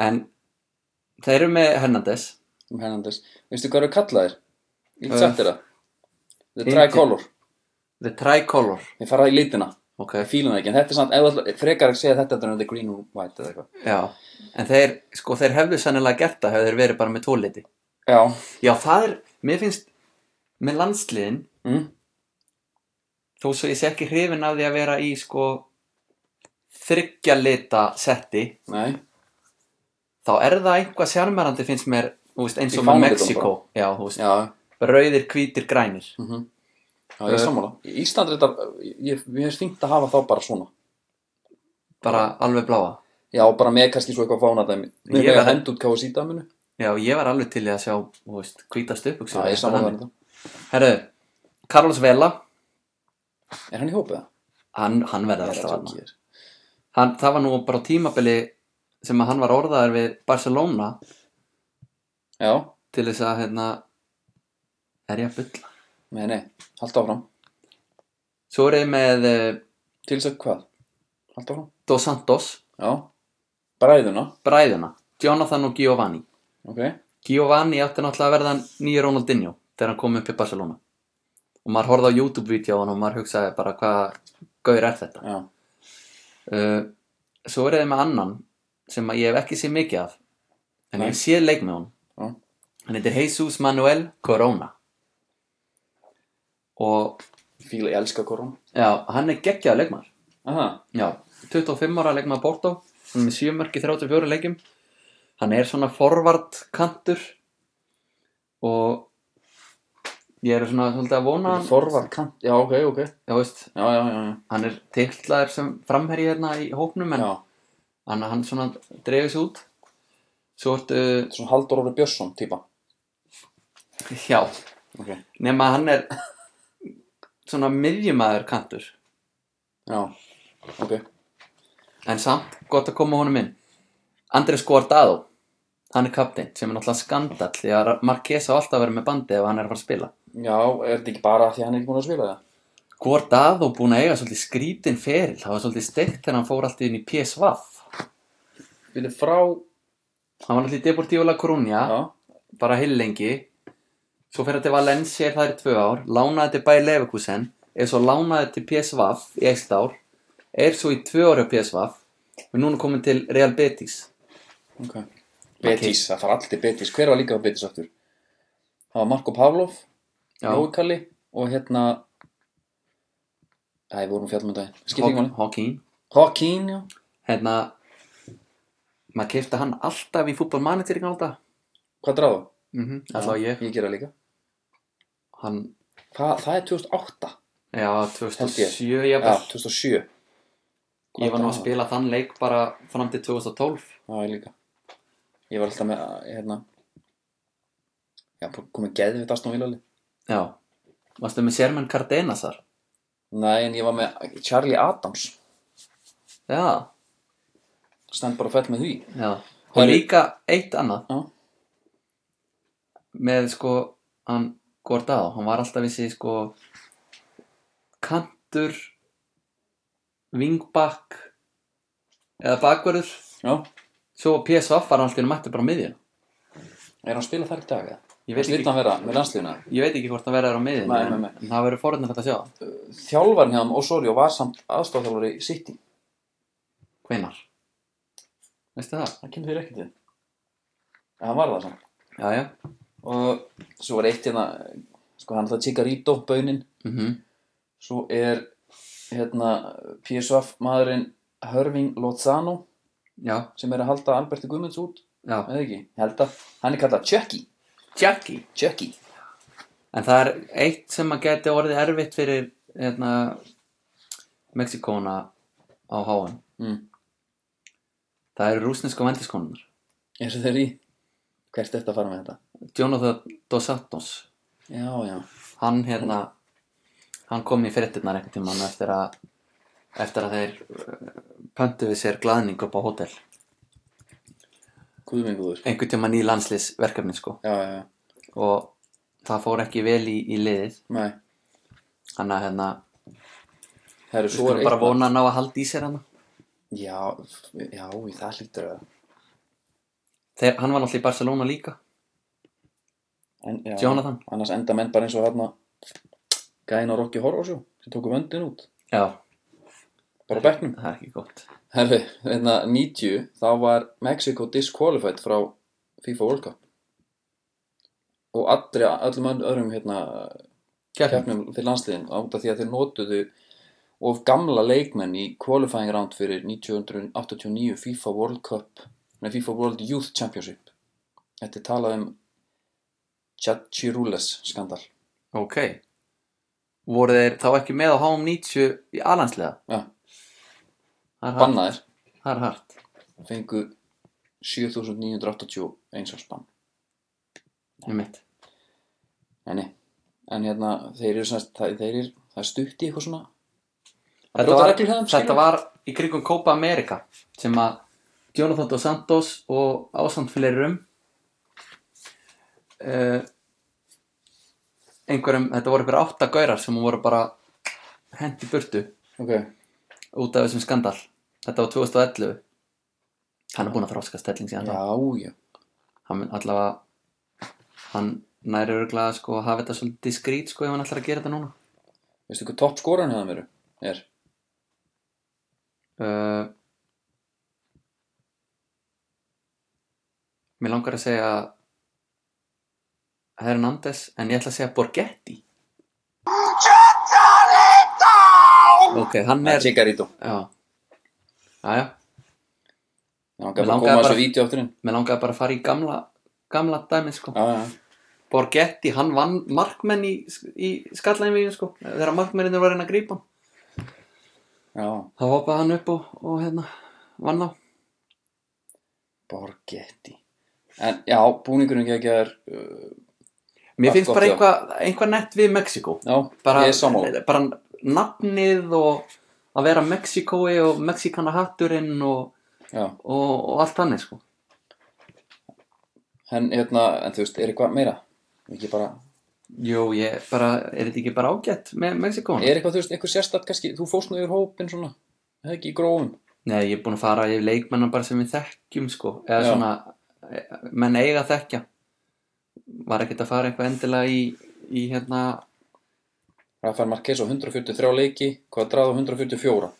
Speaker 2: en þeir eru með Hernandez
Speaker 1: um Hernandez Veistu hvað eru kallaðir? Ég
Speaker 2: Eh,
Speaker 1: sett þér það The
Speaker 2: Indian.
Speaker 1: Tricolor
Speaker 2: the tricolor,
Speaker 1: Ég fara í litina
Speaker 2: ok,
Speaker 1: Ég fíla það ekki En þetta er samt, ef þú ætla- frekar að segja þetta en The Green and White eða eitthvað
Speaker 2: já en þeir, sko, þeir hefðu sennilega gert það hefur þeir verið bara með tóliti
Speaker 1: Já,
Speaker 2: já, það er, mér finnst með landsliðin,
Speaker 1: mm.
Speaker 2: þó svo ég sé ekki hrifin af því að vera í, sko þryggja lita setti
Speaker 1: nei
Speaker 2: þá er það eitthvað sjarmerandi finnst mér, þú veist, eins
Speaker 1: Í
Speaker 2: og með
Speaker 1: fánalitunum
Speaker 2: Mexiko já, þú veist,
Speaker 1: Já,
Speaker 2: rauðir, hvítir, grænir
Speaker 1: mm Já, ég er
Speaker 2: Eh,
Speaker 1: sammála Ísland er þetta, ég, ég er stingt að hafa þá bara svona
Speaker 2: bara alveg bláa
Speaker 1: Já, bara með kannski svo eitthvað fánadæmi Með
Speaker 2: Ég
Speaker 1: með að
Speaker 2: verð-
Speaker 1: henda út káasítaminu
Speaker 2: Já, ég var alveg til í að sjá, þú veist, hvítast upp
Speaker 1: Já, ég saman verður þetta
Speaker 2: Herru, Carlos Vela,
Speaker 1: Er hann í hópið það?
Speaker 2: hann, hann verði
Speaker 1: er
Speaker 2: alltaf hann.
Speaker 1: ekki hér
Speaker 2: hann. Það var nú bara á tímabili sem að hann var orðaður við Barcelona
Speaker 1: Já,
Speaker 2: til þess að, hérna, er ég að bulla?
Speaker 1: nei, nei, halda áfram
Speaker 2: Svo er ég með uh,
Speaker 1: Til þess að hvað? Halda áfram?
Speaker 2: Dos Santos,
Speaker 1: Já Bræðuna,
Speaker 2: bræðuna, Jonathan og Giovanni.
Speaker 1: ok Já,
Speaker 2: Giovanni átti náttúrulega að verða nýja Ronaldinho þegar hann kom upp í Barcelona. Og maður horfði á YouTube-vídeó á hann og maður hugsaði bara hvað gaur er þetta. Uh, svo er þið með annan sem að ég hef ekki séð mikið af en
Speaker 1: Nei.
Speaker 2: ég sé leik með hún
Speaker 1: Já.
Speaker 2: hann heitir Jesus Manuel Corona og
Speaker 1: ég fíla, ég elska korun
Speaker 2: já, hann er geggjaður leikmaður
Speaker 1: Aha,
Speaker 2: já, 25 ára leikmaður Porto hann er með 7 mörg í 34 leikim hann er svona forvart kantur og ég er svona svolítið að vona hann
Speaker 1: forvar kant Já, ok, ok Já,
Speaker 2: já, veist,
Speaker 1: já, já, já
Speaker 2: hann er tiltlaður sem framherji hérna í hópnum en
Speaker 1: Já,
Speaker 2: hann, hann svona dreifis út svo ertu,
Speaker 1: þetta er svona Haldur Orri Björnsson típa
Speaker 2: já
Speaker 1: Ok
Speaker 2: nema hann er svona miðjumæður kantur
Speaker 1: Já, ok
Speaker 2: en samt gott að koma honum inn Andrés Guardado hann er kaptinn sem er náttúrulega skandall því að Marquez á alltaf verið með bandi ef hann er að fara að spila
Speaker 1: Já, er þetta ekki bara af því að hann er ekki búin að spila það?
Speaker 2: Guardado búin að eiga svolítið skrítin feril það var svolítið steikt þegar hann fór alltaf inn í PSV hann
Speaker 1: Vilja frá
Speaker 2: var alltaf í Deportivo La Coruña
Speaker 1: Já,
Speaker 2: bara heil lengi svo fyrir þetta Valencia það er tvö ár lánaði til bæði Leverkusen er svo lánaði til PSV í eitt ár er svo í tvö ára PSV og núna komin til Real Betis
Speaker 1: ok Betis, það fara allir til Betis Hver var líka á Betis aftur? Það var Marko Pavlov
Speaker 2: Já.
Speaker 1: Jókalli og hérna Æ, við vorum fjallum um daginn Skipt ekki
Speaker 2: Hawk-
Speaker 1: máli
Speaker 2: Hawking
Speaker 1: Hawking, já
Speaker 2: hérna maður keipta hann alltaf í fútbolmanager í gálda
Speaker 1: Hvað dráðu?
Speaker 2: mm -hmm. alltaf ég
Speaker 1: Ég gera líka
Speaker 2: hann
Speaker 1: Hva, Það er 2008
Speaker 2: já 2007
Speaker 1: Já,
Speaker 2: ég,
Speaker 1: 2007
Speaker 2: ég var nú að spila þann leik bara fram til 2012
Speaker 1: Já, ég líka Ég var alltaf með, hérna Já, bara komið geðið við Aston Villali
Speaker 2: já varstu með Sherman Cardenas þar
Speaker 1: Nei, en ég var með Charlie Adams
Speaker 2: já
Speaker 1: Stend bara fætt með því
Speaker 2: Já,
Speaker 1: Það
Speaker 2: og
Speaker 1: er-
Speaker 2: líka eitt annað
Speaker 1: Já.
Speaker 2: með sko hann Gordado, hann var alltaf vissi sko kantur vingbakk eða bakverður
Speaker 1: Já,
Speaker 2: svo PSV var hann alltaf mætti bara miðjun
Speaker 1: er hann að spila þar í dag eða?
Speaker 2: Ég veit
Speaker 1: Vilt
Speaker 2: ekki,
Speaker 1: hann vera með landslífuna?
Speaker 2: ég veit ekki hvort það verður á miðin
Speaker 1: Nei, nei, nei.
Speaker 2: En það verður forðnilegt að sjá það.
Speaker 1: Þjálfarn hjá hann Osorio var samt aðstofþjálfari í City.
Speaker 2: Hvenar? Veistu það?
Speaker 1: Það kemur þér ekki til. En hann var það samt.
Speaker 2: Já, já
Speaker 1: Og svo var eitt hérna, sko hann er það Chigarito, baunin.
Speaker 2: mm
Speaker 1: Svo er hérna PSV maðurinn Hörving Lozano
Speaker 2: Já,
Speaker 1: sem er að halda Alberti Guðmunds út.
Speaker 2: já
Speaker 1: Eða ekki? Ég held að hann er kallað Chucky.
Speaker 2: Jackie
Speaker 1: Chucky.
Speaker 2: En það er eitt sem að geti orðið erfitt fyrir hérna, Mexikóna á háan.
Speaker 1: Mm.
Speaker 2: Það eru rúsnesku vendiskonunar.
Speaker 1: Eru þeir í? Hvert er þetta að fara með þetta?
Speaker 2: Jonathan Dos Santos,
Speaker 1: Já, já.
Speaker 2: hann hérna, hann kom í fyrirtinnar einhvern tímann eftir að, eftir að þeir eh, pöntu við sér glaðning upp á hótel.
Speaker 1: Guðminguður.
Speaker 2: Einhvern tímann í landslisverkefni sko.
Speaker 1: Já, já, já.
Speaker 2: Og það fór ekki vel í, í liðið.
Speaker 1: Nei.
Speaker 2: Þannig að hérna,
Speaker 1: Herru,
Speaker 2: við
Speaker 1: svo er
Speaker 2: skulum bara vona að ná að halda í sér hann.
Speaker 1: Já, já, það hlýtur að
Speaker 2: Þeir, hann var náttúrulega í Barcelona líka.
Speaker 1: en, já,
Speaker 2: Jonathan.
Speaker 1: Annars enda menn bara eins og hérna Gæin og Rocky Horror Show sem tóku vöndin út,
Speaker 2: Já,
Speaker 1: bara á bekknum
Speaker 2: Það er ekki gott.
Speaker 1: Herru, hérna 90 þá var Mexico disqualified frá FIFA World Cup og allri, öllum önn- öðrum hérna keppnum fyrir landsliðin át af því að þeir notuðu of gamla leikmenn í qualifying round fyrir 1989 FIFA World Cup nei, FIFA World Youth Championship Þetta er talað um Chachirules skandal
Speaker 2: Ok. Voru þeir þá ekki með á HM90 í alanslega?
Speaker 1: Já,
Speaker 2: Það er hart.
Speaker 1: bannaðir
Speaker 2: Það er hart.
Speaker 1: fengu 7981 árs bann
Speaker 2: Í mitt.
Speaker 1: Nei, nei. en hérna þeir eru semst, það, þeir eru, það er stutt í eitthvað svona
Speaker 2: Þetta
Speaker 1: brjóta
Speaker 2: var,
Speaker 1: reglur hefðum, skilur.
Speaker 2: þetta var í kringum Copa America sem að Jonathan Dos Santos og ásamt fleirum uh, einhverjum, þetta voru einhverjum átta gaurar sem voru bara hent í burtu
Speaker 1: Ok,
Speaker 2: út af þessum skandal. Þetta var 2011. Hann er búinn að þróska stelling síðan þá.
Speaker 1: já, já
Speaker 2: hann mun allavega hann næri örgulega sko að hafa þetta svolítið diskrít sko ef hann ætlar að gera þetta núna
Speaker 1: Veistu hvað topp skoran hefðan veru? Er,
Speaker 2: uh, Mér langar að segja Hernandez en ég ætla að segja Borghetti
Speaker 3: Chicharito!
Speaker 2: Ok, hann
Speaker 1: það
Speaker 2: er
Speaker 1: er Chigarito
Speaker 2: Já Jæja,
Speaker 1: Já, hann gaf
Speaker 2: Mig
Speaker 1: bara að
Speaker 2: langaði
Speaker 1: koma
Speaker 2: bara-
Speaker 1: þessu vídeo aftur inn
Speaker 2: mér langar bara að fara í gamla gamla dæmið sko
Speaker 1: Já, já, já
Speaker 2: Borghetti, hann vann markmenn í, í skallæðinvíðin sko þegar markmenninu var að reyna að grípa hann
Speaker 1: Já,
Speaker 2: þá hoppaði hann upp og, og hérna vann á
Speaker 1: Borgetti En já, búningurinn ekki að er uh,
Speaker 2: Mér
Speaker 1: Allt
Speaker 2: finnst
Speaker 1: gott,
Speaker 2: bara
Speaker 1: já.
Speaker 2: eitthvað eitthva nett við Mexiko
Speaker 1: Já,
Speaker 2: bara, eh,
Speaker 1: ég er sammála
Speaker 2: bara nafnið og að vera Mexikoi og Mexikana hatturinn og,
Speaker 1: Já,
Speaker 2: og, og allt þannig sko
Speaker 1: en hérna, en þú veist, er eitthvað meira? Ekki bara,
Speaker 2: Jú, ég bara, er þetta ekki bara ágætt með Mexikon?
Speaker 1: er eitthvað, þú veist, eitthvað sérstætt kannski Þú fórst nú yfir hópinn svona Það er ekki í grófum
Speaker 2: Nei, ég er búin að fara yfir leikmennan bara sem við þekkjum sko eða
Speaker 1: Já.
Speaker 2: svona, eh, menn eiga að þekkja var ekkert að fara eitthvað endilega í, í hérna
Speaker 1: Rafael Marquez á 143 leiki Quadrado 144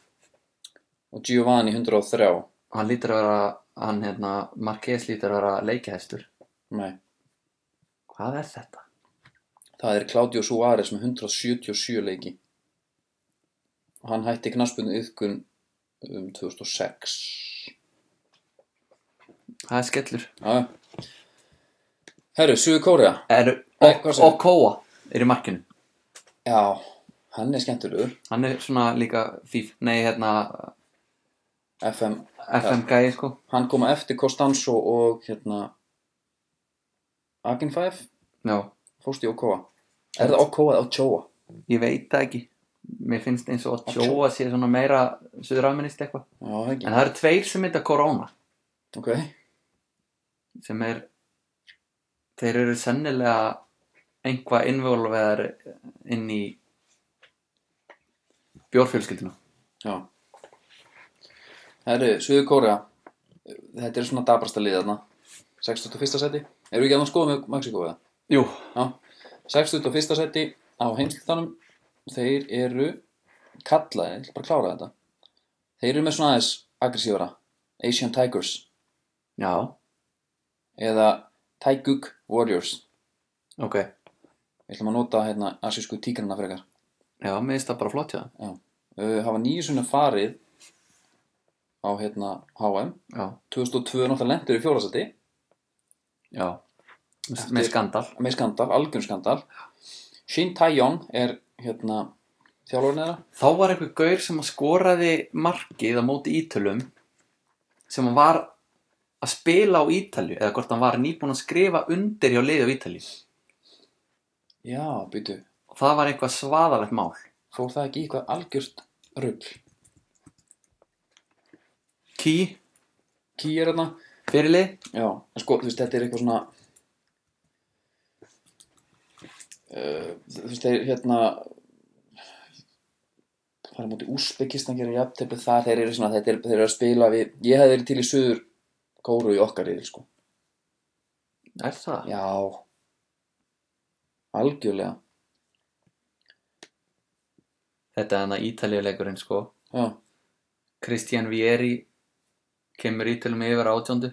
Speaker 1: Og Giovanni 103
Speaker 2: hann lítur að vera, hann hérna Marquez lítur að vera leikihestur
Speaker 1: Nei,
Speaker 2: Hvað er þetta?
Speaker 1: það er Claudio Suárez með 177 leiki Og hann hætti knaspunni yðkun um 2006
Speaker 2: Það er skellur
Speaker 1: Já, já Herru, Suður Kórea
Speaker 2: er,
Speaker 1: Nei,
Speaker 2: og,
Speaker 1: hvað segirðu?
Speaker 2: og Kóa er í markinu
Speaker 1: Já, hann er skemmtilegur
Speaker 2: hann er svona líka fíf nei hérna
Speaker 1: FM,
Speaker 2: FM gæi sko
Speaker 1: hann koma eftir Costanzo og hérna Akin 5
Speaker 2: já
Speaker 1: fórst í Okoa Er það Okoa eða Ochoa?
Speaker 2: ég veit það ekki mér finnst eins og að
Speaker 1: Ochoa.
Speaker 2: Jóa sé svona meira suðurafminist eitthvað
Speaker 1: Já, það
Speaker 2: en
Speaker 1: ekki
Speaker 2: það eru tveir sem heita Corona
Speaker 1: Ok,
Speaker 2: sem er þeir eru sennilega einhvað involveðar inn í bjórfjölskylduna
Speaker 1: já Herru, Suður Kórea Þetta er svona dabrasta lið þarna 61. seti Erum við ekki að það skoða með Mexiko eða?
Speaker 2: Jú,
Speaker 1: Já, 61. seti á heimslutanum þeir eru kallaðir, ég ætla bara að klára þetta þeir eru með svona aðeins aggressífara Asian Tigers
Speaker 2: já,
Speaker 1: eða Taiguk Warriors
Speaker 2: ok
Speaker 1: við ætlum að nota hérna asísku tígrana frekar
Speaker 2: Já, mér finnst það bara flott hjá það
Speaker 1: uh, hafa nýju sunni farið á hérna HM
Speaker 2: Já,
Speaker 1: 2002 náttúrulega lendur í fjórasæti
Speaker 2: já Með skandal
Speaker 1: með skandal, algjörn skandal Shin Taeyong er hérna þjálfurinn þeirra
Speaker 2: Þá var einhver gaur sem að skoraði markið á móti ítölum sem að var að spila á Ítalju eða hvort hann var nýbúinn að skrifa undir hjá liði á Ítalju
Speaker 1: já, býtu,
Speaker 2: og það var eitthvað svaðalegt mál
Speaker 1: fór það ekki í eitthvað algjört rugl
Speaker 2: Ký,
Speaker 1: Ký er hérna
Speaker 2: fyrirlið
Speaker 1: Já, en sko, þú veist, þetta er eitthvað svona uh, Þú veist, þeir, hérna Það er mútið Úsbekistan gera jafntefli það Þeir eru svona, þeir eru, þeir eru að spila við Ég hefði verið til í suður kóru í okkar yfir, sko
Speaker 2: Er það?
Speaker 1: Já Algjörlega
Speaker 2: Þetta er hann að Ítaljuleikurinn sko
Speaker 1: Já,
Speaker 2: Kristján Vieri kemur Ítalum yfir á átjóndu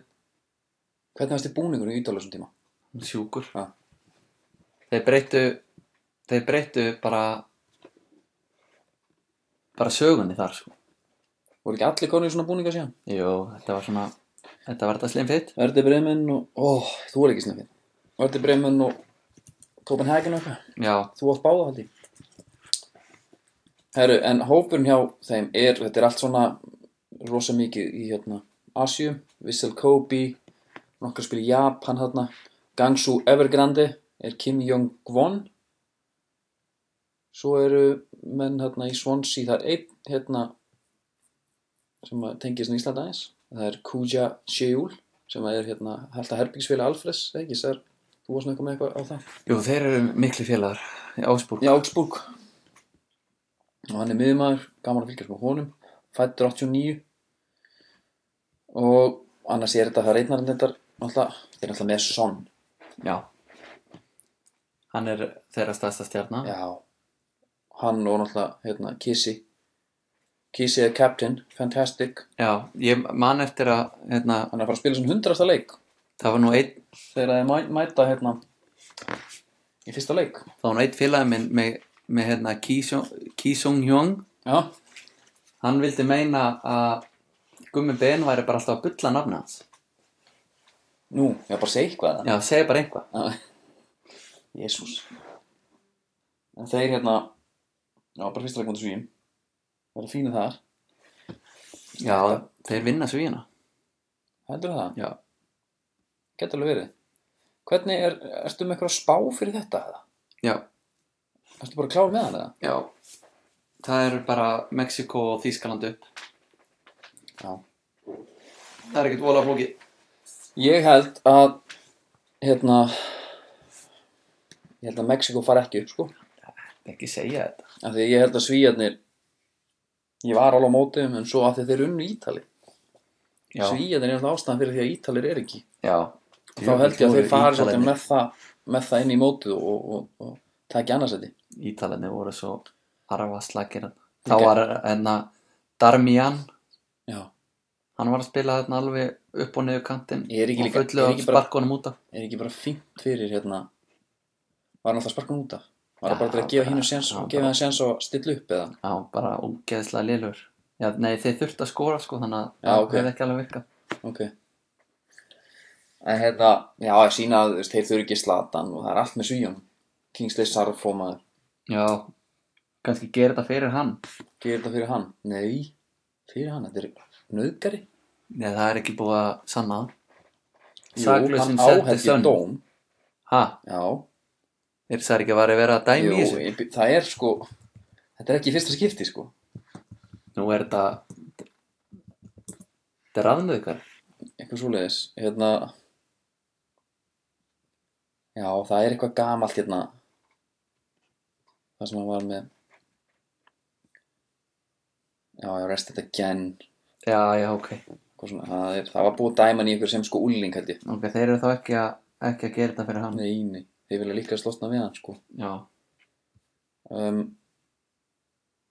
Speaker 1: hvernig varst þið búningur í ídala þessum tíma?
Speaker 2: sjúkur
Speaker 1: Já.
Speaker 2: þeir breyttu þeir breyttu bara bara sögunni þar sko
Speaker 1: Voru ekki allir konur í svona búninga síðan?
Speaker 2: Jú, þetta var svona þetta var þetta slim fit
Speaker 1: Erdi Bremen og, ó, þú er ekki snakkin Erdi Bremen og Copenhagen og eitthvað
Speaker 2: já,
Speaker 1: Þú átt báða haldi Herru, en hópurinn hjá þeim er, þetta er allt svona rosa mikið í hérna Asju, Vissel Kobe nokkar spil í Japan hérna Gangsu Evergrande er Kim Jong-gwon svo eru menn hérna í Swansea það er einn hérna sem að tengist í Íslanda aðeins það er Kuja Sheul sem að er hérna held að herbyggisfélag Alfres eða ekki, sér, þú varst nokkuð með eitthvað á það
Speaker 2: jú, þeir eru miklu félagar í Ásbúrg
Speaker 1: í Augsburg og hann er miðmaður, gaman að fylgjast með honum fættur 89 og annars er þetta það reynar en þetta alltaf, þetta er alltaf með son
Speaker 2: já hann er þeirra stærsta stjarnar
Speaker 1: já, hann og náttúrulega hérna, Kissi Kissi er captain, fantastic
Speaker 2: ég man eftir að hérna,
Speaker 1: hann er að fara að spila sem hundrasta leik
Speaker 2: það var nú einn
Speaker 1: þegar þeir mæ- mæta hérna í fyrsta leik
Speaker 2: það var nú einn félagi minn með, með hérna, Ki Sung Hyung
Speaker 1: já,
Speaker 2: hann vildi meina að Gummi Ben væri bara alltaf að bulla nafna hans
Speaker 1: nú, ég var bara að segja eitthvað
Speaker 2: já, segi bara einhvað
Speaker 1: Jésús En þeir hérna Já, bara fyrsta leikmóti svíum Það er fínu þar,
Speaker 2: Já, þeir vinna svíina
Speaker 1: heldur það
Speaker 2: Já.
Speaker 1: Getur alveg verið Hvernig er, ertu með eitthvað spá fyrir þetta? eða?
Speaker 2: Já,
Speaker 1: Ertu bara að klára með hann eða?
Speaker 2: já Það eru bara Mexiko og Þýskaland upp
Speaker 1: Já
Speaker 2: Það er ekkert vola flóki
Speaker 1: Ég held að Hérna Ég held að Mexiko fari ekki upp sko
Speaker 2: Ekki segja þetta
Speaker 1: Af því að ég held að svíjarnir Ég var alveg á mótiðum en svo af því að þeir unnu Ítali
Speaker 2: Já,
Speaker 1: Svíjarnir er alltaf ástæðan fyrir því að Ítalir er ekki
Speaker 2: já
Speaker 1: þá held ég að þeir fari svolítið
Speaker 2: Ítalarnir-
Speaker 1: með það, með það inn í mótið og, og, og, og takja annarsæti
Speaker 2: Ítalarnir voru svo arfa slagir Þá
Speaker 1: Líka-
Speaker 2: var enna Darmian
Speaker 1: Já.
Speaker 2: Hann var að spila þarna alveg upp og niður kantinn
Speaker 1: Er ekki
Speaker 2: og
Speaker 1: líka-
Speaker 2: fullu
Speaker 1: er
Speaker 2: af
Speaker 1: ekki bara-
Speaker 2: sparkunum út af
Speaker 1: er ekki bara fínt fyrir hérna var hann alltaf sparkan út af var
Speaker 2: Já,
Speaker 1: það bara til að gefa
Speaker 2: bara-
Speaker 1: hínu séns
Speaker 2: já,
Speaker 1: og
Speaker 2: bara-
Speaker 1: gefa hann séns og stilla upp eða
Speaker 2: Já, bara ógeðslega lélur Já, nei, þeir þurftu að skora sko þannig að
Speaker 1: Já,
Speaker 2: það
Speaker 1: ok.
Speaker 2: hefði ekki alveg virkað
Speaker 1: ok en hérna, já, að sína að þú veist, þeir þurfi ekki slatan og það er allt með svíjum Kingsley Sarfómaður,
Speaker 2: Já, kannski gera þetta fyrir hann
Speaker 1: gerir þetta fyrir hann nei, fyrir hann, þetta er nöðgari
Speaker 2: Nei, það er ekki búið að sanna það
Speaker 1: hann
Speaker 2: Saklausinn sendi
Speaker 1: áhætti
Speaker 2: sönn
Speaker 1: dóm
Speaker 2: Ha,
Speaker 1: já,
Speaker 2: er það ekki að vera að vera að dæmi í
Speaker 1: jú,
Speaker 2: þessu?
Speaker 1: ég- það er sko þetta er ekki í fyrsta skipti sko
Speaker 2: Nú er þetta Þetta er raðnöð ykkar
Speaker 1: eitthvað svoleiðis hérna já það er eitthvað gamalt hérna það sem hann var með já já rest þetta gen
Speaker 2: Já, já, ok
Speaker 1: svona, það, er, það var búið að dæma hann í ykkur sem sko úling held ég
Speaker 2: Ok, þeir eru þá ekki að, ekki að gera þetta fyrir hann
Speaker 1: neini, þeir vilja líka slosna við hann sko
Speaker 2: já,
Speaker 1: um,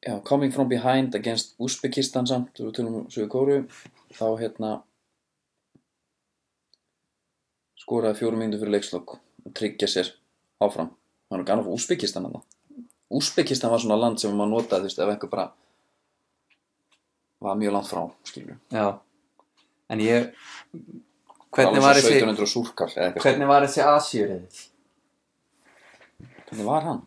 Speaker 1: já, coming from behind against Uzbekistan samt þú tölum um Suður Kóru þá hérna skoraði fjórum myndu fyrir leikslokk og tryggja sér áfram hann er gana fyrir Uzbekistan hann Uzbekistan var svona land sem maður notaði þú veist ef einhver bara var mjög langt frá skilur
Speaker 2: já en ég hvernig var þessi
Speaker 1: 1700 súrkall eða eitthvað
Speaker 2: hvernig var þessi asjurriðil
Speaker 1: hvernig var hann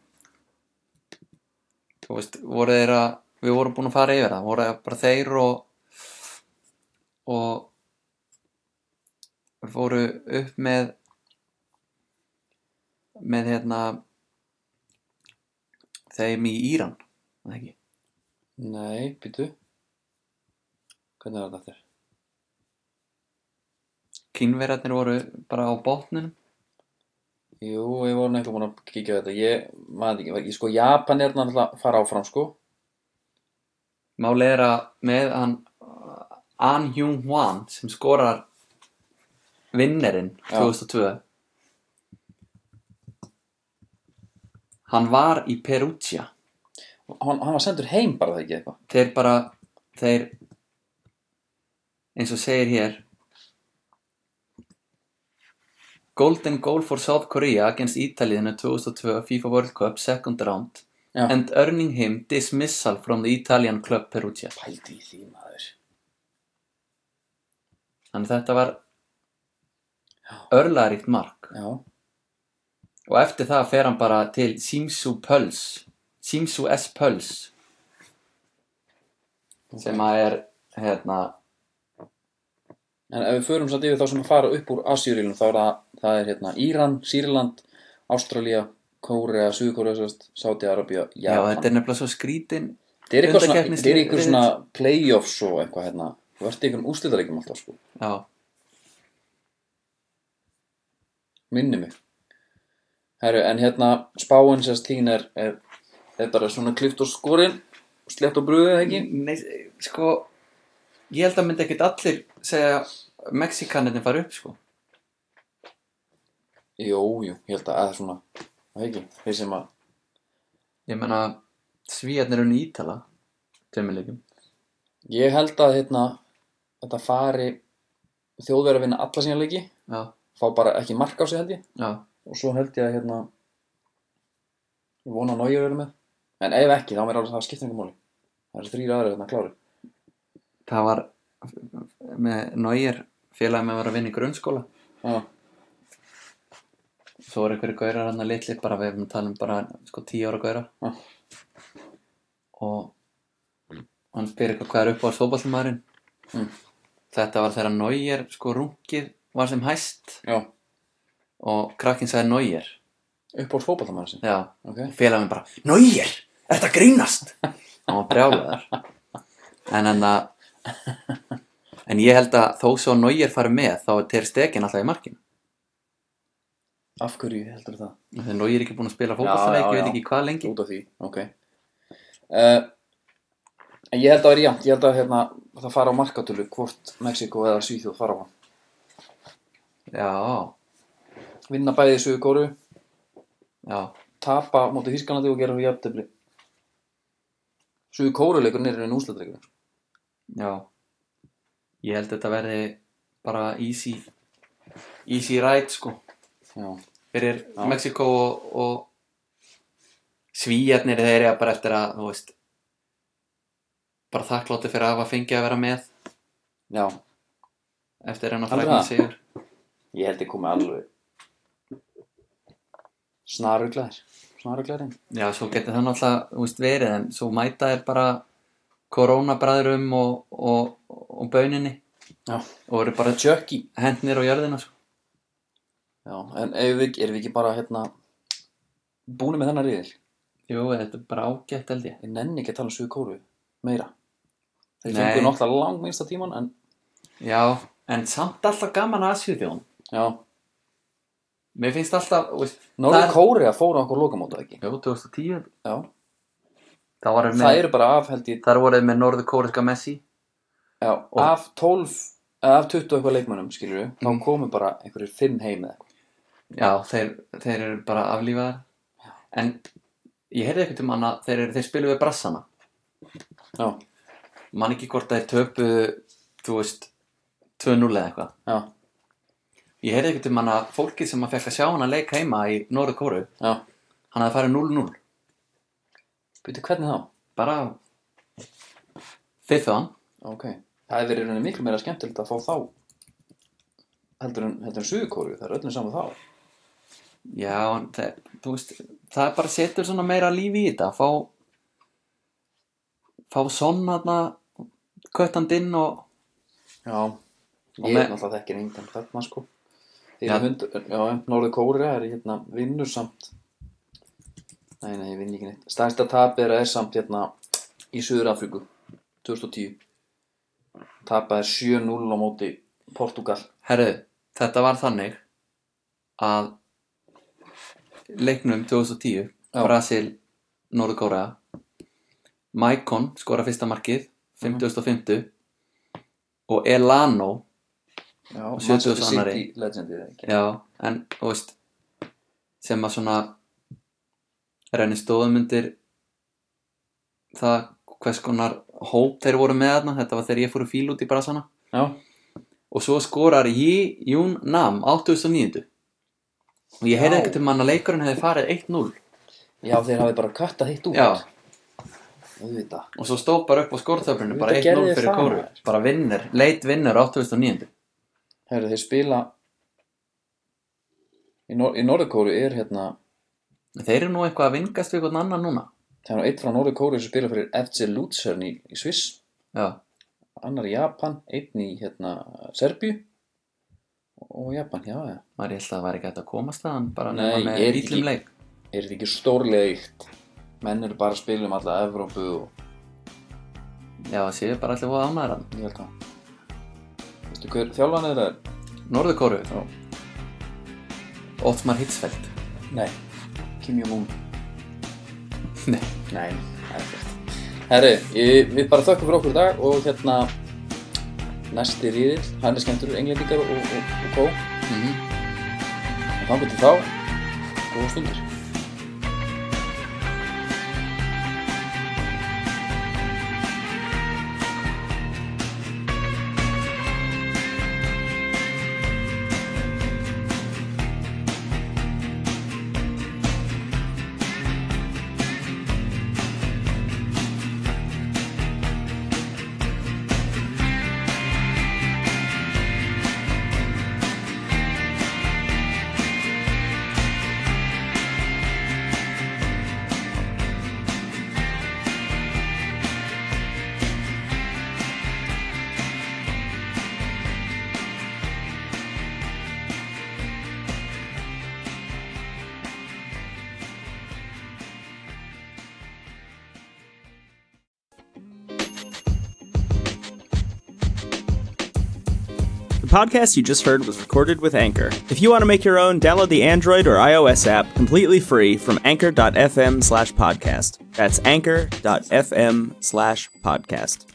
Speaker 2: þú veist, voru þeir að við vorum búin að fara yfir það, voru bara þeir og og fóru upp með með hérna þeim í Íran var það ekki,
Speaker 1: Nei, býtu Hvernig var þetta aftur?
Speaker 2: kínverjarnir voru bara á botnunum
Speaker 1: Jú, ég var nefnilega búin að kíkja á þetta Ég maður ekki, var- ég sko Japan er náttúrulega að fara áfram sko
Speaker 2: málið er að með hann uh, An Hyung Hwan sem skorar vinnerinn
Speaker 1: Já.
Speaker 2: 2002 hann var í Perugia
Speaker 1: Hann, hann var sendur heim bara það ekki eitthvað
Speaker 2: þeir bara þeir eins og segir hér Golden goal for South Korea against Italy in the 2002 FIFA World Cup second round
Speaker 1: Já.
Speaker 2: and earning him dismissal from the Italian club Perugia
Speaker 1: Pældi í því maður
Speaker 2: Þannig að þetta var örlaríkt mark
Speaker 1: Já,
Speaker 2: og eftir það fer hann bara til Simsu Pöls Simsu S Pöls sem að er hérna,
Speaker 1: en ef við förum samt yfir þá sem að fara upp úr Asjurílum þá er það, það er hérna Íran, Sýrland, Ástralía, Kórea, Suðkórea, sérst, Sáti-Arabía,
Speaker 2: já,
Speaker 1: Japan
Speaker 2: þetta er nefnilega svo skrítin
Speaker 1: Þetta er eitthvað svona,
Speaker 2: undankeppnis-
Speaker 1: þetta er eitthvað svona playoffs og eitthvað hérna Þú ert í einhverjum úrslitaleikum alltaf sko
Speaker 2: já,
Speaker 1: minni mig Herru, en hérna spáin sérst þín er, er er bara svona klift og skorinn slett og brugðið ekki
Speaker 2: Nei, sko ég held að myndi ekkert allir segja Mexikaninni fara upp sko
Speaker 1: Jú, jú, ég held að eða svona það er ekki, þeir sem að
Speaker 2: ég menna Svíarnir unni Ítala tveimileikum
Speaker 1: ég held að hérna þetta fari þjóðverð að vinna alla sína leiki
Speaker 2: já,
Speaker 1: fá bara ekki mark á sig held ég
Speaker 2: já,
Speaker 1: og svo held ég að hérna ég vona að nógja verið með en ef ekki, þá mér alveg það skiptir einhver máli það eru þrýra aðra hérna klári
Speaker 2: það var með Nóir félagið með var að vinna í grunnskóla
Speaker 1: Já,
Speaker 2: svo voru einhverju gaurar hann að litli bara við erum að tala um bara sko tíu ára gaurar
Speaker 1: Já.
Speaker 2: og hann spyr eitthvað hvað er upp á sóballumæðurinn
Speaker 1: Mm.
Speaker 2: þetta var þegar Nóir sko rungið var sem hæst
Speaker 1: já,
Speaker 2: og krakkinn sagði Nóir
Speaker 1: upp á fótballtamæður sin
Speaker 2: já,
Speaker 1: okay.
Speaker 2: félagin bara Nóir, þetta grínast hann var brjálaðar en en að en ég held að þó svo Nóir fari með þá er Ter Stegen alltaf í markinu
Speaker 1: Af hverju heldur það?
Speaker 2: þegar Nóir er ekki búin að spila
Speaker 1: Já,
Speaker 2: fótballstæleik
Speaker 1: já,
Speaker 2: ég
Speaker 1: já.
Speaker 2: veit ekki hvað lengi
Speaker 1: út af því ok uh, en ég held að það er jæmt ég held að hérna, það fara á markatölu hvort Mexiko eða Svíþjóð fara á hann
Speaker 2: já,
Speaker 1: vinna bæði í Suður Kóru
Speaker 2: já
Speaker 1: tapa móti Þískanandi og gera það jæftefli Suður Kóru leikur nýrinn en úsletleikur
Speaker 2: Já Ég held að þetta verði bara easy easy ride sko
Speaker 1: já,
Speaker 2: fyrir
Speaker 1: Já.
Speaker 2: Mexiko og, og svíjarnir þeir eru bara eftir að þú veist bara þakklátti fyrir að hafa fengið að vera með
Speaker 1: já
Speaker 2: eftir hennar
Speaker 1: Heldurðu
Speaker 2: frækna
Speaker 1: það?
Speaker 2: sigur
Speaker 1: ég held ég komi alveg snaruglæðir snaruglæðir
Speaker 2: Já, svo getur það náttúrulega þú veist, verið en svo mæta er bara koronabræðurum og, og, og bauninni
Speaker 1: já
Speaker 2: og eru bara
Speaker 1: Jökki
Speaker 2: hendnir á jörðina sko.
Speaker 1: já, en erum við, erum við ekki bara hérna búinu með þennan riðil
Speaker 2: Jú, þetta er bara ágætt held ég
Speaker 1: ég nenni ekki að tala um Suður Kóru meira þeir
Speaker 2: Nei.
Speaker 1: fengur náttúrulega langminnsta tíman en
Speaker 2: Já, en samt alltaf gaman að Svíðjón
Speaker 1: já,
Speaker 2: Mér finnst alltaf, þú veist,
Speaker 1: Norður
Speaker 2: það-
Speaker 1: Kóru að fóra okkur lokamóta ekki
Speaker 2: Jó, 2010
Speaker 1: já,
Speaker 2: Það var með,
Speaker 1: það eru bara af held ég
Speaker 2: þar voruð með norðurkóriska Messi
Speaker 1: já,
Speaker 2: Mhm.
Speaker 1: af 12 eða af 20 eitthvað leikmönnum skilur við, þá komu bara einhverjir fimm heim eða eitthvað
Speaker 2: já, þeir, þeir eru bara aflífaðar en ég heyrði ekkert um hann að þeir, eru- þeir spilu við brassana
Speaker 1: Já,
Speaker 2: man ekki hvort að þeir töpu þú veist 2-0 eða eitthvað
Speaker 1: já,
Speaker 2: ég heyrði ekkert um hann að fólkið sem að fekk að sjá hann að leika heima í Norður Kóru
Speaker 1: já
Speaker 2: hann hafði farið 0-0
Speaker 1: Býtu, hvernig þá?
Speaker 2: bara þið hann
Speaker 1: Ok, það hefur verið rauninni miklu meira skemmtilegt að fá þá heldur en, heldur en suðukóru, það er öllum saman þá
Speaker 2: já, en það, þú veist það er bara setur svona meira lífi í þetta fá fá sonn hann köttand inn og
Speaker 1: Já, ég
Speaker 2: Og
Speaker 1: er
Speaker 2: með-
Speaker 1: náttúrulega þekkir engan þarna sko Þeir
Speaker 2: Já.
Speaker 1: eru hund, já, Norður Kóra er hérna vinnur samt Nei, nei, ég vinn ekki neitt Stærsta tap er er samt hérna í Suður Afríku 2010 Tapaði 7-0 á móti Portugal
Speaker 2: Herru, þetta var þannig að leiknum 2010
Speaker 1: Já.
Speaker 2: Brasil, Norður Kóra Maicon skora fyrsta markið 50.50 og Elano
Speaker 1: Já,
Speaker 2: 70
Speaker 1: Manchester
Speaker 2: annarri.
Speaker 1: City legendið ekki
Speaker 2: já, en þú veist sem að svona renni stóðum undir það hvers konar hóp þeir voru með þarna þetta var þegar ég fóru fíl út í Brasana
Speaker 1: Já,
Speaker 2: og svo skorar Yi Jun Nam 8.900 og ég
Speaker 1: Já.
Speaker 2: heyrði ekkert um hann að leikurinn hefði farið 1-0
Speaker 1: já þeir hafi bara kattað hitt út
Speaker 2: Já.
Speaker 1: Auðvitað
Speaker 2: og svo stóð bara upp á skortöflinu bara
Speaker 1: Þetta
Speaker 2: 1-0
Speaker 1: gerði
Speaker 2: fyrir
Speaker 1: það,
Speaker 2: kóru
Speaker 1: maður.
Speaker 2: bara vinnur, leit vinnur 8.900
Speaker 1: Herru, þeir spila Í, Nor í Norður Kóru er hérna
Speaker 2: þeir eru nú eitthvað að vingast við einhvern annan núna
Speaker 1: Það er nú einn frá Norður Kóru sem spila fyrir FC Luzern í, í Sviss
Speaker 2: já,
Speaker 1: annar í Japan, einn í hérna, Serbíu og Japan, já, já.
Speaker 2: maður ég held að það væri ekki hægt að komast þaðan bara
Speaker 1: Nei,
Speaker 2: nema
Speaker 1: ég
Speaker 2: með
Speaker 1: er
Speaker 2: ítlum
Speaker 1: ekki-
Speaker 2: leik
Speaker 1: Er þetta ekki stórlega eitt? Menn eru bara að spila um alla Evrópu og
Speaker 2: já, það séu bara allir voða ánæður hann
Speaker 1: ég held það. Veistu hver þjálfan er það?
Speaker 2: Norður kóru,
Speaker 1: Já.
Speaker 2: Ottmar Hitzfeldt
Speaker 1: Nei. Kim Jong-un.
Speaker 2: Nei.
Speaker 1: Nei, það er fyrst. Herri, ég, við bara þökkum fyrir okkur í dag og hérna næsti ríðil, hann er skemmtur, englendingar og, og, og kó.
Speaker 2: mm
Speaker 1: Og þannig til þá, góða stundir.
Speaker 4: The podcast you just heard was recorded with Anchor. If you want to make your own, download the Android or iOS app completely free from anchor.fm slash podcast. That's anchor.fm slash podcast.